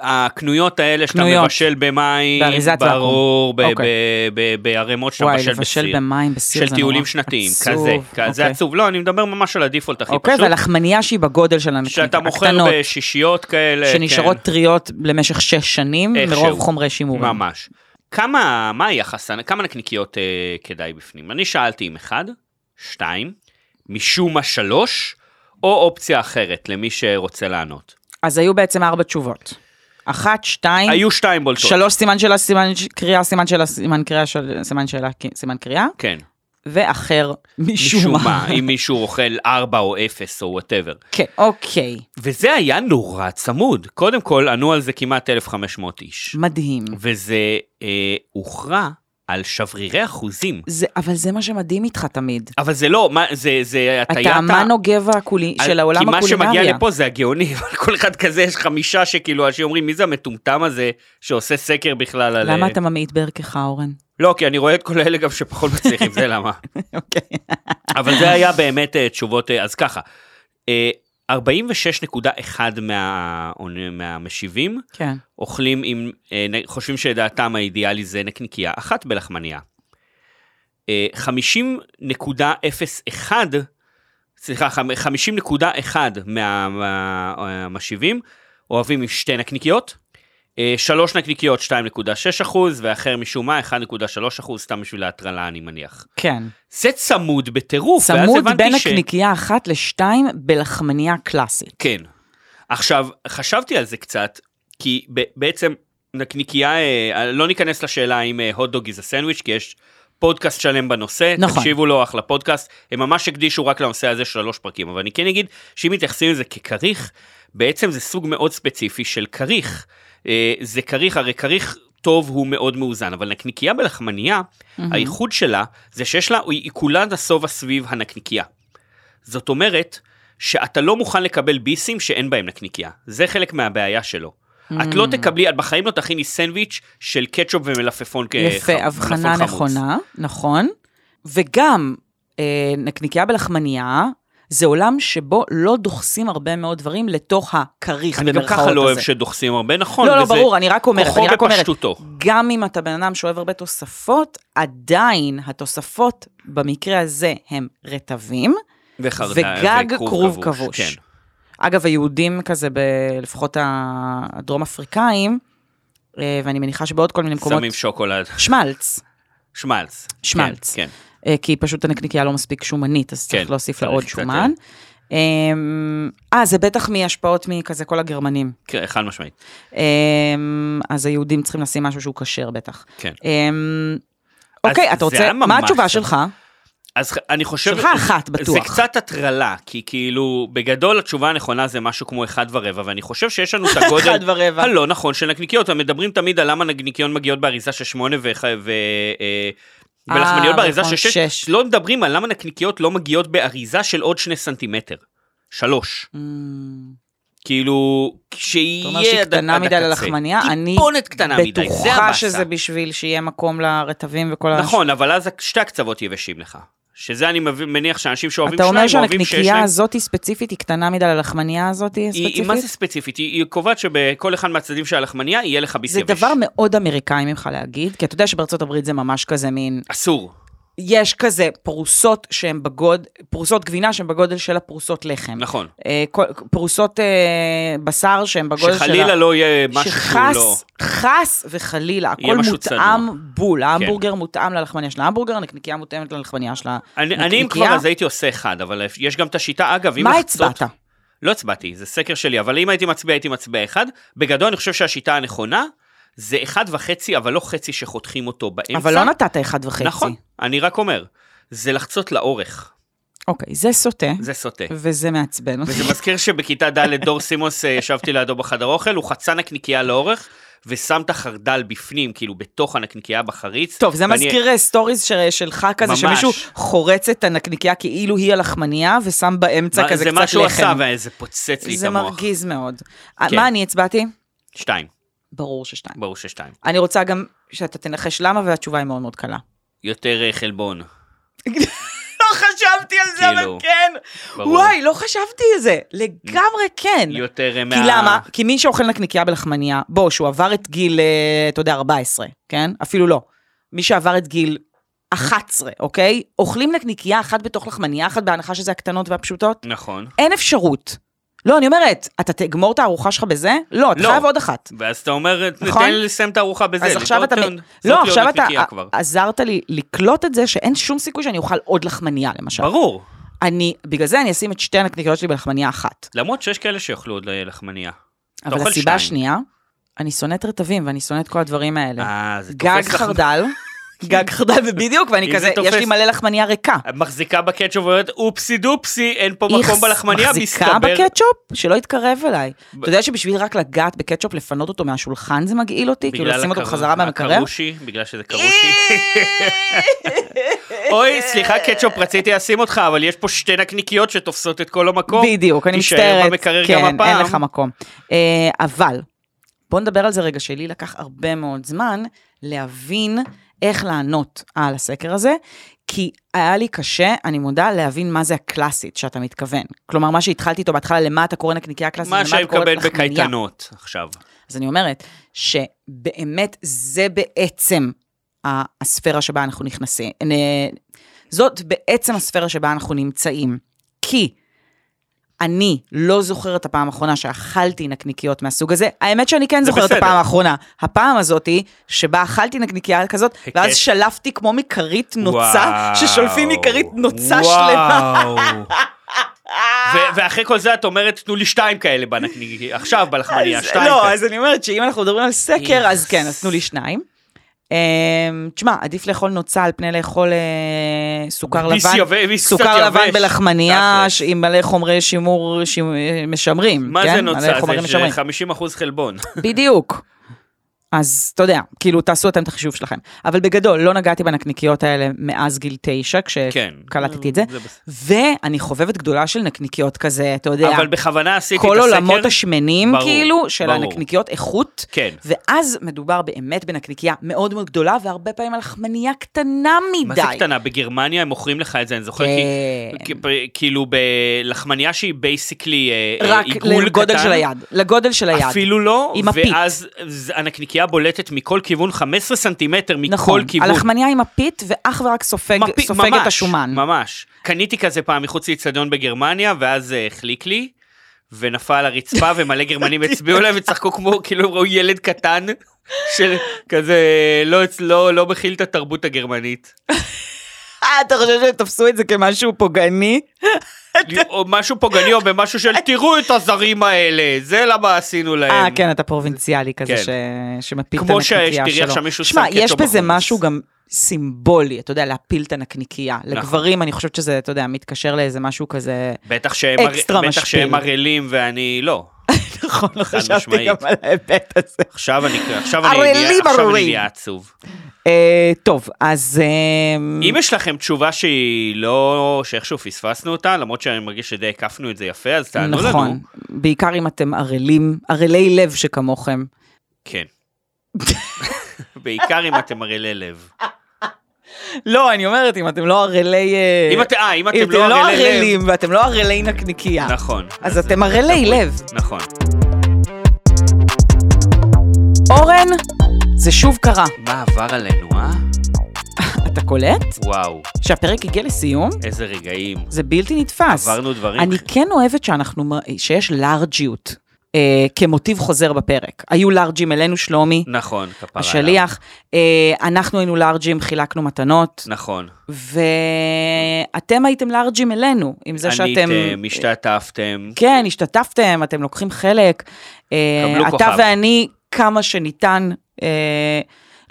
Speaker 2: הקנויות האלה שאתה
Speaker 3: קנויות.
Speaker 2: מבשל במים,
Speaker 3: באריזת ואקום.
Speaker 2: ברור, ב-
Speaker 3: אוקיי.
Speaker 2: ב- ב- בערימות שאתה
Speaker 3: וואי,
Speaker 2: מבשל בסיר.
Speaker 3: לבשל במים בסיר זה
Speaker 2: של
Speaker 3: נורא
Speaker 2: טיולים שנתיים,
Speaker 3: עצוב.
Speaker 2: כזה, כזה
Speaker 3: אוקיי.
Speaker 2: עצוב. לא, אני מדבר ממש על הדיפולט הכי
Speaker 3: אוקיי,
Speaker 2: פשוט.
Speaker 3: והלחמניה שהיא בגודל של הנקניקיה,
Speaker 2: שאתה מוכר
Speaker 3: הקטנות,
Speaker 2: בשישיות כאלה. כן.
Speaker 3: שנשארות טריות למשך שש שנים,
Speaker 2: איכשהו.
Speaker 3: מרוב חומרי
Speaker 2: כן,
Speaker 3: שימורים.
Speaker 2: ממש. כמה, מה היחס, כמה נקניקיות אה, כדאי בפנים? אני שאלתי אם אחד, שתיים, משום מה שלוש, או אופציה אחרת למי שרוצה לענות.
Speaker 3: אז היו בעצם ארבע תשובות. אחת, שתיים,
Speaker 2: היו שתיים בולטות.
Speaker 3: שלוש סימן שאלה, סימן ש- קריאה, סימן שאלה, סימן קריאה, של- סימן שאלה, כי- סימן קריאה,
Speaker 2: כן,
Speaker 3: ואחר, משום
Speaker 2: משום מה,
Speaker 3: מה.
Speaker 2: אם מישהו אוכל ארבע או אפס או וואטאבר.
Speaker 3: כן, אוקיי,
Speaker 2: וזה היה נורא צמוד. קודם כל, ענו על זה כמעט 1,500 איש.
Speaker 3: מדהים.
Speaker 2: וזה אה, הוכרע על שברירי אחוזים.
Speaker 3: זה, אבל זה מה שמדהים איתך תמיד.
Speaker 2: אבל זה לא, מה, זה, זה הטיית...
Speaker 3: אתה אמן או גבע הקולי, של העולם
Speaker 2: אה, כי מה שמגיע
Speaker 3: הקולינריה.
Speaker 2: לפה זה הגאוני, אבל כל אחד כזה יש חמישה שכאילו, אנשים אומרים, מי זה המטומטם הזה שעושה סקר בכלל על... אה?"
Speaker 3: למה אתה ממעיט בערכך, אורן?
Speaker 2: לא, כי אני רואה את כל האלה גם שפחות מצליחים, זה למה.
Speaker 3: אוקיי.
Speaker 2: אבל זה היה באמת אה, תשובות, אה, אז ככה. אה, 46.1 מה... מהמשיבים
Speaker 3: כן.
Speaker 2: אוכלים עם, אה, נ- חושבים שדעתם האידיאלי זה נקניקייה אחת בלחמניה. אה, 50.01, סליחה, חמ- 50.1 מהמשיבים אוהבים עם שתי נקניקיות. אה, שלוש נקניקיות 2.6 אחוז, ואחר משום מה 1.3 אחוז, סתם בשביל ההטרלה אני מניח.
Speaker 3: כן.
Speaker 2: זה צמוד בטירוף, ואז
Speaker 3: צמוד
Speaker 2: הבנתי
Speaker 3: בין
Speaker 2: ש-
Speaker 3: הקניקייה אחת לשתיים בלחמניה קלאסית.
Speaker 2: כן. עכשיו, חשבתי על זה קצת, כי ב- בעצם נקניקייה, אה, לא ניכנס לשאלה אם הוטדוג זה סנדוויץ', כי יש פודקאסט שלם בנושא,
Speaker 3: נכון.
Speaker 2: תקשיבו לו, אחלה פודקאסט, הם ממש הקדישו רק לנושא הזה שלוש פרקים, אבל אני כן אגיד שאם מתייחסים לזה ככריך, בעצם זה סוג מאוד ספציפי של כריך. אה, זה כריך, הרי כריך טוב הוא מאוד מאוזן, אבל נקניקייה בלחמנייה, Mm-hmm. הייחוד שלה זה שיש לה, היא היא כולה נסובה סביב הנקניקייה. זאת אומרת, שאתה לא מוכן לקבל ביסים שאין בהם נקניקייה. זה חלק מהבעיה שלו.
Speaker 3: Mm.
Speaker 2: את
Speaker 3: Mm-hmm.
Speaker 2: לא תקבלי, את בחיים לא תכיני סנדוויץ' של קטשופ ומלפפון כ-
Speaker 3: יפה,
Speaker 2: חמ-
Speaker 3: הבחנה
Speaker 2: מלפפון חמוץ.
Speaker 3: נכונה, נכון. וגם אה, נקניקייה בלחמניה, זה עולם שבו לא דוחסים הרבה מאוד דברים לתוך הכריך
Speaker 2: אני
Speaker 3: במרכאות
Speaker 2: גם
Speaker 3: הזה.
Speaker 2: ככה לא אוהב שדוחסים הרבה, נכון.
Speaker 3: לא, לא,
Speaker 2: וזה
Speaker 3: ברור, אני רק אומרת,
Speaker 2: כוחו
Speaker 3: אני רק אומרת,
Speaker 2: בפשטותו.
Speaker 3: גם אם אתה בן אדם שאוהב הרבה תוספות, עדיין התוספות במקרה הזה הם רטבים,
Speaker 2: וחרדל,
Speaker 3: וגג
Speaker 2: וכרוב
Speaker 3: כרוב
Speaker 2: כבוש,
Speaker 3: כבוש.
Speaker 2: כן.
Speaker 3: אגב, היהודים כזה, ב, לפחות הדרום אפריקאים, אה, ואני מניחה שבעוד כל מיני מקומות...
Speaker 2: שמים שוקולד,
Speaker 3: שמלץ,
Speaker 2: שמלץ.
Speaker 3: שמלץ.
Speaker 2: כן, כן.
Speaker 3: אה, כי פשוט הנקניקייה לא מספיק שומנית, אז צריך
Speaker 2: כן,
Speaker 3: להוסיף לה
Speaker 2: צריך כן.
Speaker 3: עוד
Speaker 2: קצת,
Speaker 3: שומן. אמ, אה, זה בטח מהשפעות מכזה כל הגרמנים.
Speaker 2: כן, חד משמעית.
Speaker 3: אמ, אז היהודים צריכים לשים משהו שהוא כשר בטח.
Speaker 2: כן.
Speaker 3: אמ,
Speaker 2: אז
Speaker 3: אוקיי, אתה
Speaker 2: זה
Speaker 3: רוצה,
Speaker 2: היה
Speaker 3: מה
Speaker 2: ממש
Speaker 3: התשובה
Speaker 2: טוב.
Speaker 3: שלך?
Speaker 2: אז אני חושב...
Speaker 3: שלך אחת,
Speaker 2: זה
Speaker 3: בטוח.
Speaker 2: קצת הטרלה, כי כאילו, בגדול התשובה הנכונה זה משהו כמו אחד ורבע, ואני חושב שיש לנו את הגודל...
Speaker 3: אחד ורבע.
Speaker 2: הלא נכון של נקניקיות, הם מדברים תמיד על למה נקניקיון מגיעות באריזה של שמונה ו... ו... אה,
Speaker 3: אה,
Speaker 2: ולחמניות באריזה
Speaker 3: נכון,
Speaker 2: של שש.
Speaker 3: שש.
Speaker 2: לא מדברים על למה נקניקיות לא מגיעות באריזה של עוד שני סנטימטר. שלוש.
Speaker 3: אמ,
Speaker 2: כאילו,
Speaker 3: אתה
Speaker 2: כשיהיה...
Speaker 3: אומר שהיא
Speaker 2: עד-
Speaker 3: קטנה
Speaker 2: עד
Speaker 3: מדי
Speaker 2: הקצה.
Speaker 3: ללחמניה, אני
Speaker 2: טיפונת קטנה מדי, זה
Speaker 3: בטוחה
Speaker 2: הבאסה.
Speaker 3: שזה בשביל שיהיה מקום לרטבים וכל ה...
Speaker 2: נכון, אבל אז שתי הקצוות יבשים לך. שזה אני מבין- מניח שאנשים שאוהבים
Speaker 3: אתה אומר
Speaker 2: שניים, אוהבים שיש
Speaker 3: שהנקניקייה
Speaker 2: להם...
Speaker 3: הזאת ספציפית היא קטנה מדי ללחמניה הזאת
Speaker 2: היא, היא- מה זה
Speaker 3: ספציפית?
Speaker 2: ספציפית? היא, היא קובעת שבכל אחד מהצדדים של הלחמניה יהיה לך ביס
Speaker 3: זה
Speaker 2: יבש.
Speaker 3: דבר מאוד אמריקאי ממך להגיד, כי אתה יודע שבארצות הברית זה ממש כזה מין,
Speaker 2: אסור.
Speaker 3: יש כזה פרוסות שהן בגודל, פרוסות גבינה שהן בגודל של הפרוסות לחם.
Speaker 2: נכון.
Speaker 3: אה, כל- פרוסות אה, בשר שהן בגודל של...
Speaker 2: שחלילה לא יהיה משהו שהוא
Speaker 3: שחס,
Speaker 2: לא...
Speaker 3: חס וחלילה,
Speaker 2: יהיה
Speaker 3: הכל
Speaker 2: משהו
Speaker 3: מותאם
Speaker 2: צנוע. כן.
Speaker 3: בול, ההמבורגר מותאם ללחמניה של ההמבורגר, הנקניקייה מותאמת ללחמניה של
Speaker 2: אני,
Speaker 3: הנקניקייה.
Speaker 2: אני אם כבר אז הייתי עושה אחד, אבל יש גם את השיטה, אגב, אם
Speaker 3: מה
Speaker 2: לחצות-
Speaker 3: הצבעת?
Speaker 2: לא הצבעתי, זה סקר שלי, אבל אם הייתי מצביע, הייתי מצביע אחד. בגדול, אני חושב שהשיטה הנכונה זה אחד וחצי, אבל לא חצי שחותכים אותו באמצע.
Speaker 3: אבל לא נתת אחד וחצי.
Speaker 2: נכון, אני רק אומר, זה לחצות לאורך,
Speaker 3: אוקיי, זה סוטה,
Speaker 2: זה סוטה.
Speaker 3: וזה מעצבן אותי.
Speaker 2: וזה מזכיר שבכיתה ד' דור סימוס אה, ישבתי לידו בחדר אוכל, הוא חצה נקניקייה לאורך, ושם את החרדל בפנים, כאילו בתוך הנקניקייה בחריץ.
Speaker 3: טוב, זה
Speaker 2: ואני-
Speaker 3: מזכיר אה, סטוריז ש- שלך כזה,
Speaker 2: ממש.
Speaker 3: שמישהו חורץ את הנקניקייה כאילו היא הלחמניה, ושם באמצע
Speaker 2: מה-
Speaker 3: כזה
Speaker 2: זה
Speaker 3: קצת לחם.
Speaker 2: מה שהוא עשה, וזה פוצץ לי את
Speaker 3: זה
Speaker 2: המוח.
Speaker 3: מרגיז מאוד. אה,
Speaker 2: כן.
Speaker 3: מה אני הצבעתי?
Speaker 2: שתיים,
Speaker 3: ברור ששתיים.
Speaker 2: ברור ששתיים.
Speaker 3: אני רוצה גם שאתה תנחש למה, והתשובה היא מאוד מאוד קלה.
Speaker 2: יותר אה, חלבון.
Speaker 3: לא חשבתי על זה, אבל
Speaker 2: כאילו,
Speaker 3: כן.
Speaker 2: ברור.
Speaker 3: וואי, לא חשבתי על זה. לגמרי כן.
Speaker 2: יותר אה, מה...
Speaker 3: כי למה? כי מי שאוכל נקניקייה בלחמניה, בוא, שהוא עבר את גיל, אה, אתה יודע, 14, כן? אפילו לא. מי שעבר את גיל 11, אוקיי? אוכלים נקניקייה אחת בתוך לחמניה אחת, בהנחה שזה הקטנות והפשוטות?
Speaker 2: נכון.
Speaker 3: אין אפשרות. לא, אני אומרת, אתה תגמור את הארוחה שלך בזה? לא, אתה
Speaker 2: לא.
Speaker 3: חייב עוד אחת.
Speaker 2: ואז אתה אומר,
Speaker 3: נכון?
Speaker 2: תן לי לסיים את הארוחה בזה.
Speaker 3: אז עכשיו
Speaker 2: זאת
Speaker 3: אתה...
Speaker 2: עוד- זאת לי
Speaker 3: לא,
Speaker 2: עוד
Speaker 3: עכשיו אתה
Speaker 2: נקניקייה כבר.
Speaker 3: עזרת לי לקלוט את זה שאין שום סיכוי שאני אוכל עוד לחמניה, למשל.
Speaker 2: ברור.
Speaker 3: אני, בגלל זה אני אשים את שתי הנקניקיות שלי בלחמניה אחת.
Speaker 2: למרות שיש כאלה שיאכלו עוד אה, לחמניה. אתה
Speaker 3: אבל
Speaker 2: אוכל
Speaker 3: הסיבה
Speaker 2: שתיים.
Speaker 3: השנייה, אני שונאת רטבים ואני שונאת כל הדברים האלה.
Speaker 2: אה, זה תופס
Speaker 3: גג
Speaker 2: לך-
Speaker 3: חרדל, גג חרדל, ובדיוק, ואני
Speaker 2: אם
Speaker 3: כזה,
Speaker 2: זה תופס-
Speaker 3: יש לי מלא לחמניה ריקה.
Speaker 2: מחזיקה בקטשופ ואומרת, אופסי דופסי, אין פה
Speaker 3: איכס,
Speaker 2: מקום בלחמניה,
Speaker 3: מחזיקה
Speaker 2: מסתבר.
Speaker 3: בקטשופ? שלא יתקרב אליי. אתה יודע שבשביל רק לגעת בקטשופ, לפנות אותו מהשולחן זה מגעיל אותי? כאילו
Speaker 2: בגלל
Speaker 3: לשים אותו
Speaker 2: הקר-
Speaker 3: בחזרה במקרר?
Speaker 2: הקרושי, בגלל שזה קרושי. אוי, סליחה קטשופ, רציתי לשים אותך, אבל יש פה שתי נקניקיות שתופסות את כל המקום.
Speaker 3: בדיוק, אני מצטערת.
Speaker 2: תישאר במקרר גם
Speaker 3: כן,
Speaker 2: הפעם.
Speaker 3: אין לך מקום. אה, אבל, בוא נדבר על זה רגע, שלי לקח הרבה מאוד זמן להבין איך לענות על הסקר הזה, כי היה לי קשה, אני מודה, להבין מה זה הקלאסית שאתה מתכוון. כלומר, מה שהתחלתי איתו בהתחלה, למה אתה קורא נקניקיה קלאסית,
Speaker 2: מה
Speaker 3: למה
Speaker 2: שאני
Speaker 3: אתה קורא
Speaker 2: מקבל
Speaker 3: לחמניה.
Speaker 2: בקייטנות עכשיו.
Speaker 3: אז אני אומרת, שבאמת זה בעצם ה- הספירה שבה אנחנו נכנסים. נ- זאת בעצם הספירה שבה אנחנו נמצאים. כי אני לא זוכרת את הפעם האחרונה שאכלתי נקניקיות מהסוג הזה. האמת שאני כן
Speaker 2: זה
Speaker 3: זוכרת את
Speaker 2: בסדר.
Speaker 3: הפעם האחרונה. הפעם הזאת היא שבה אכלתי נקניקייה כזאת, ואז
Speaker 2: הקש.
Speaker 3: שלפתי כמו מכרית נוצה,
Speaker 2: וואו.
Speaker 3: ששולפים מכרית נוצה
Speaker 2: וואו.
Speaker 3: שלמה.
Speaker 2: ו- ואחרי כל זה את אומרת, תנו לי שתיים כאלה בנקניק, עכשיו בלחמניה,
Speaker 3: אז-
Speaker 2: שתיים
Speaker 3: לא,
Speaker 2: כאלה.
Speaker 3: אז אני אומרת שאם אנחנו מדברים על סקר, אז כן, אז תנו לי שניים. אמ, תשמע, עדיף לאכול נוצה על פני לאכול אה, סוכר
Speaker 2: ביס
Speaker 3: לבן,
Speaker 2: יבש, ביס קצת
Speaker 3: סוכר לבן
Speaker 2: יבש.
Speaker 3: בלחמניה
Speaker 2: תכלס.
Speaker 3: ש- עם מלא חומרי שימור ש- משמרים.
Speaker 2: מה
Speaker 3: כן?
Speaker 2: זה
Speaker 3: מלא
Speaker 2: נוצה?
Speaker 3: חומרים אה,
Speaker 2: זה
Speaker 3: משמרים.
Speaker 2: 50 אחוז חלבון.
Speaker 3: בדיוק. אז אתה יודע, כאילו תעשו אתם את החישוב שלכם. אבל בגדול, לא נגעתי בנקניקיות האלה מאז גיל תשע,
Speaker 2: כן.
Speaker 3: כשקלטתי את זה.
Speaker 2: זה בסדר.
Speaker 3: ואני חובבת גדולה של נקניקיות כזה, אתה יודע.
Speaker 2: אבל בכוונה עשיתי את
Speaker 3: כל
Speaker 2: הסקר.
Speaker 3: עולמות השמנים,
Speaker 2: ברור,
Speaker 3: כאילו, של
Speaker 2: ברור.
Speaker 3: הנקניקיות איכות.
Speaker 2: כן.
Speaker 3: ואז מדובר באמת בנקניקייה מאוד מאוד גדולה, והרבה פעמים על לחמניה קטנה מדי.
Speaker 2: מה זה קטנה? בגרמניה הם מוכרים לך את זה, אני זוכר,
Speaker 3: כן.
Speaker 2: כי- כי- כאילו בלחמניה שהיא בייסיקלי
Speaker 3: רק
Speaker 2: אה, עיגול קטן.
Speaker 3: לגודל של היד. לגודל של היד.
Speaker 2: אפילו לא,
Speaker 3: עם הפית.
Speaker 2: ואז זה- הנקניקייה לחמניה בולטת מכל כיוון 15 סנטימטר מכל
Speaker 3: נכון,
Speaker 2: כיוון.
Speaker 3: הלחמניה עם הפית ואך ורק סופג,
Speaker 2: מפי-
Speaker 3: סופג
Speaker 2: ממש,
Speaker 3: את השומן.
Speaker 2: ממש. קניתי כזה פעם מחוץ לאיצטדיון בגרמניה, ואז אה, החליק לי, ונפל על הרצפה, ומלא גרמנים
Speaker 3: אוקיי.
Speaker 2: הצביעו להם וצחקו כמו, כאילו הם ראו ילד קטן, של כזה, לא, אצ- לא, לא מכיל את התרבות הגרמנית.
Speaker 3: אה, אתה חושב שהם תפסו את זה כמשהו פוגעני?
Speaker 2: כן. או משהו פוגעני או במשהו של תראו את הזרים האלה, זה למה עשינו להם.
Speaker 3: אה, כן, אתה פרובינציאלי כזה
Speaker 2: כן.
Speaker 3: ש... שמפיל את
Speaker 2: כמו
Speaker 3: הנקניקייה
Speaker 2: ש-
Speaker 3: שלו.
Speaker 2: שתראי עכשיו מישהו
Speaker 3: שמע,
Speaker 2: שם קטו
Speaker 3: יש בזה
Speaker 2: בחוץ.
Speaker 3: משהו גם סימבולי, אתה יודע, להפיל את הנקניקייה.
Speaker 2: נכון.
Speaker 3: לגברים, אני חושבת שזה, אתה יודע, מתקשר לאיזה משהו כזה...
Speaker 2: בטח שהם הר-
Speaker 3: אקסטרה
Speaker 2: בטח שהם
Speaker 3: משפיל.
Speaker 2: ערלים ואני לא.
Speaker 3: נכון, לא
Speaker 2: חד
Speaker 3: חשבתי
Speaker 2: משמעית.
Speaker 3: גם על ההיבט הזה.
Speaker 2: עכשיו אני עכשיו אני
Speaker 3: ערלים,
Speaker 2: נהיה- עכשיו אני
Speaker 3: ערלים.
Speaker 2: נהיה עצוב.
Speaker 3: אה, טוב, אז... אה,
Speaker 2: אם יש לכם תשובה שהיא לא, שאיכשהו פספסנו אותה, למרות שאני מרגיש שדי הקפנו את זה יפה, אז תענו לנו.
Speaker 3: נכון, בעיקר אם אתם ערלים, ערלי לב שכמוכם.
Speaker 2: כן. בעיקר אם אתם ערלי לב.
Speaker 3: אה, לא, אני אומרת, אם אתם לא ערלי... אה,
Speaker 2: אם אתם, אה, אם
Speaker 3: אם
Speaker 2: אתם
Speaker 3: אתם לא
Speaker 2: ערלי לב.
Speaker 3: ערלים ואתם לא ערלי נקניקייה.
Speaker 2: נכון.
Speaker 3: אז אתם ערלי לב.
Speaker 2: נכון.
Speaker 3: אורן, זה שוב קרה.
Speaker 2: מה עבר עלינו, אה?
Speaker 3: אתה קולט?
Speaker 2: וואו,
Speaker 3: שהפרק הגיע לסיום?
Speaker 2: איזה רגעים.
Speaker 3: זה בלתי נתפס.
Speaker 2: עברנו דברים.
Speaker 3: אני כן אוהבת שאנחנו, מ- שיש לארג'יות אה, כמוטיב חוזר בפרק. היו לארג'ים אלינו, שלומי,
Speaker 2: נכון, כפרה. עליו.
Speaker 3: השליח, אה, אנחנו היינו לארג'ים, חילקנו מתנות,
Speaker 2: נכון.
Speaker 3: ואתם הייתם לארג'ים אלינו, עם זה שאתם...
Speaker 2: עניתם, השתתפתם.
Speaker 3: כן, השתתפתם, אתם לוקחים חלק. אה,
Speaker 2: קבלו
Speaker 3: אתה
Speaker 2: כוכב.
Speaker 3: ואני, כמה שניתן. אה,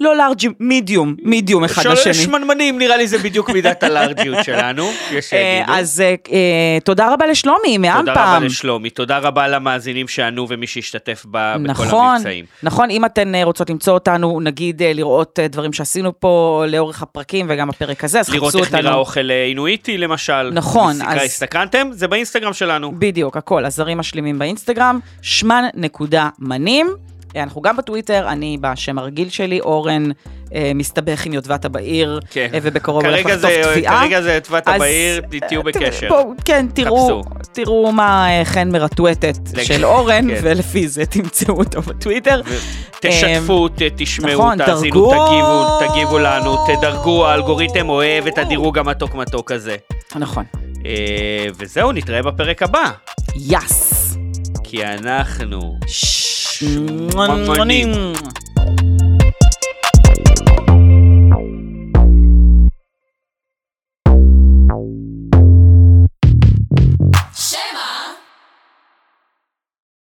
Speaker 3: לא לארג'ים, מידיום, מידיום כן, אחד
Speaker 2: שואל
Speaker 3: לשני.
Speaker 2: שמנמנים נראה לי זה בדיוק מידת הלארג'יות שלנו, יש
Speaker 3: אה,
Speaker 2: שיגידו.
Speaker 3: אז אה, אה, תודה רבה לשלומי, מעם
Speaker 2: תודה רבה
Speaker 3: פעם.
Speaker 2: לשלומי, תודה רבה למאזינים שענו ומי שהשתתף ב- בכל
Speaker 3: נכון,
Speaker 2: המבצעים.
Speaker 3: נכון, אם אתן אה, רוצות למצוא אותנו, נגיד אה, לראות אה, דברים שעשינו פה לאורך הפרקים וגם הפרק הזה, אז חפשו
Speaker 2: לראות
Speaker 3: אותנו.
Speaker 2: איך נראה אוכל אה, אינואיטי למשל.
Speaker 3: נכון,
Speaker 2: הסתכל-
Speaker 3: אז-
Speaker 2: הסתקרנתם? זה באינסטגרם שלנו.
Speaker 3: בדיוק, הכל, הזרים משלימים באינסטגרם, שמן נקודה מנים. אה, אנחנו גם בטוויטר, אני בשם הרגיל שלי, אורן אה, מסתבך עם יודבתה בעיר,
Speaker 2: כן.
Speaker 3: אה, ובקרוב הולך
Speaker 2: כרגע
Speaker 3: לחטוף
Speaker 2: זה-
Speaker 3: תביעה.
Speaker 2: כרגע זה תבעת
Speaker 3: אז,
Speaker 2: בעיר,
Speaker 3: אה,
Speaker 2: תהיו
Speaker 3: ת-
Speaker 2: בקשר.
Speaker 3: בואו, כן, תראו,
Speaker 2: חפשו.
Speaker 3: תראו מה אה, חן מרטואטת
Speaker 2: לג-
Speaker 3: של אורן,
Speaker 2: כן.
Speaker 3: ולפי זה תמצאו אותו בטוויטר.
Speaker 2: תשתפו, ת- תשמעו,
Speaker 3: אה, נכון,
Speaker 2: תאזינו,
Speaker 3: דרגו.
Speaker 2: תגיבו, תגיבו לנו, תדרגו, האלגוריתם אוהב את הדירוג המתוק מתוק הזה.
Speaker 3: נכון.
Speaker 2: אה, וזהו, נתראה בפרק הבא,
Speaker 3: יס.
Speaker 2: כי אנחנו...
Speaker 3: שמונים.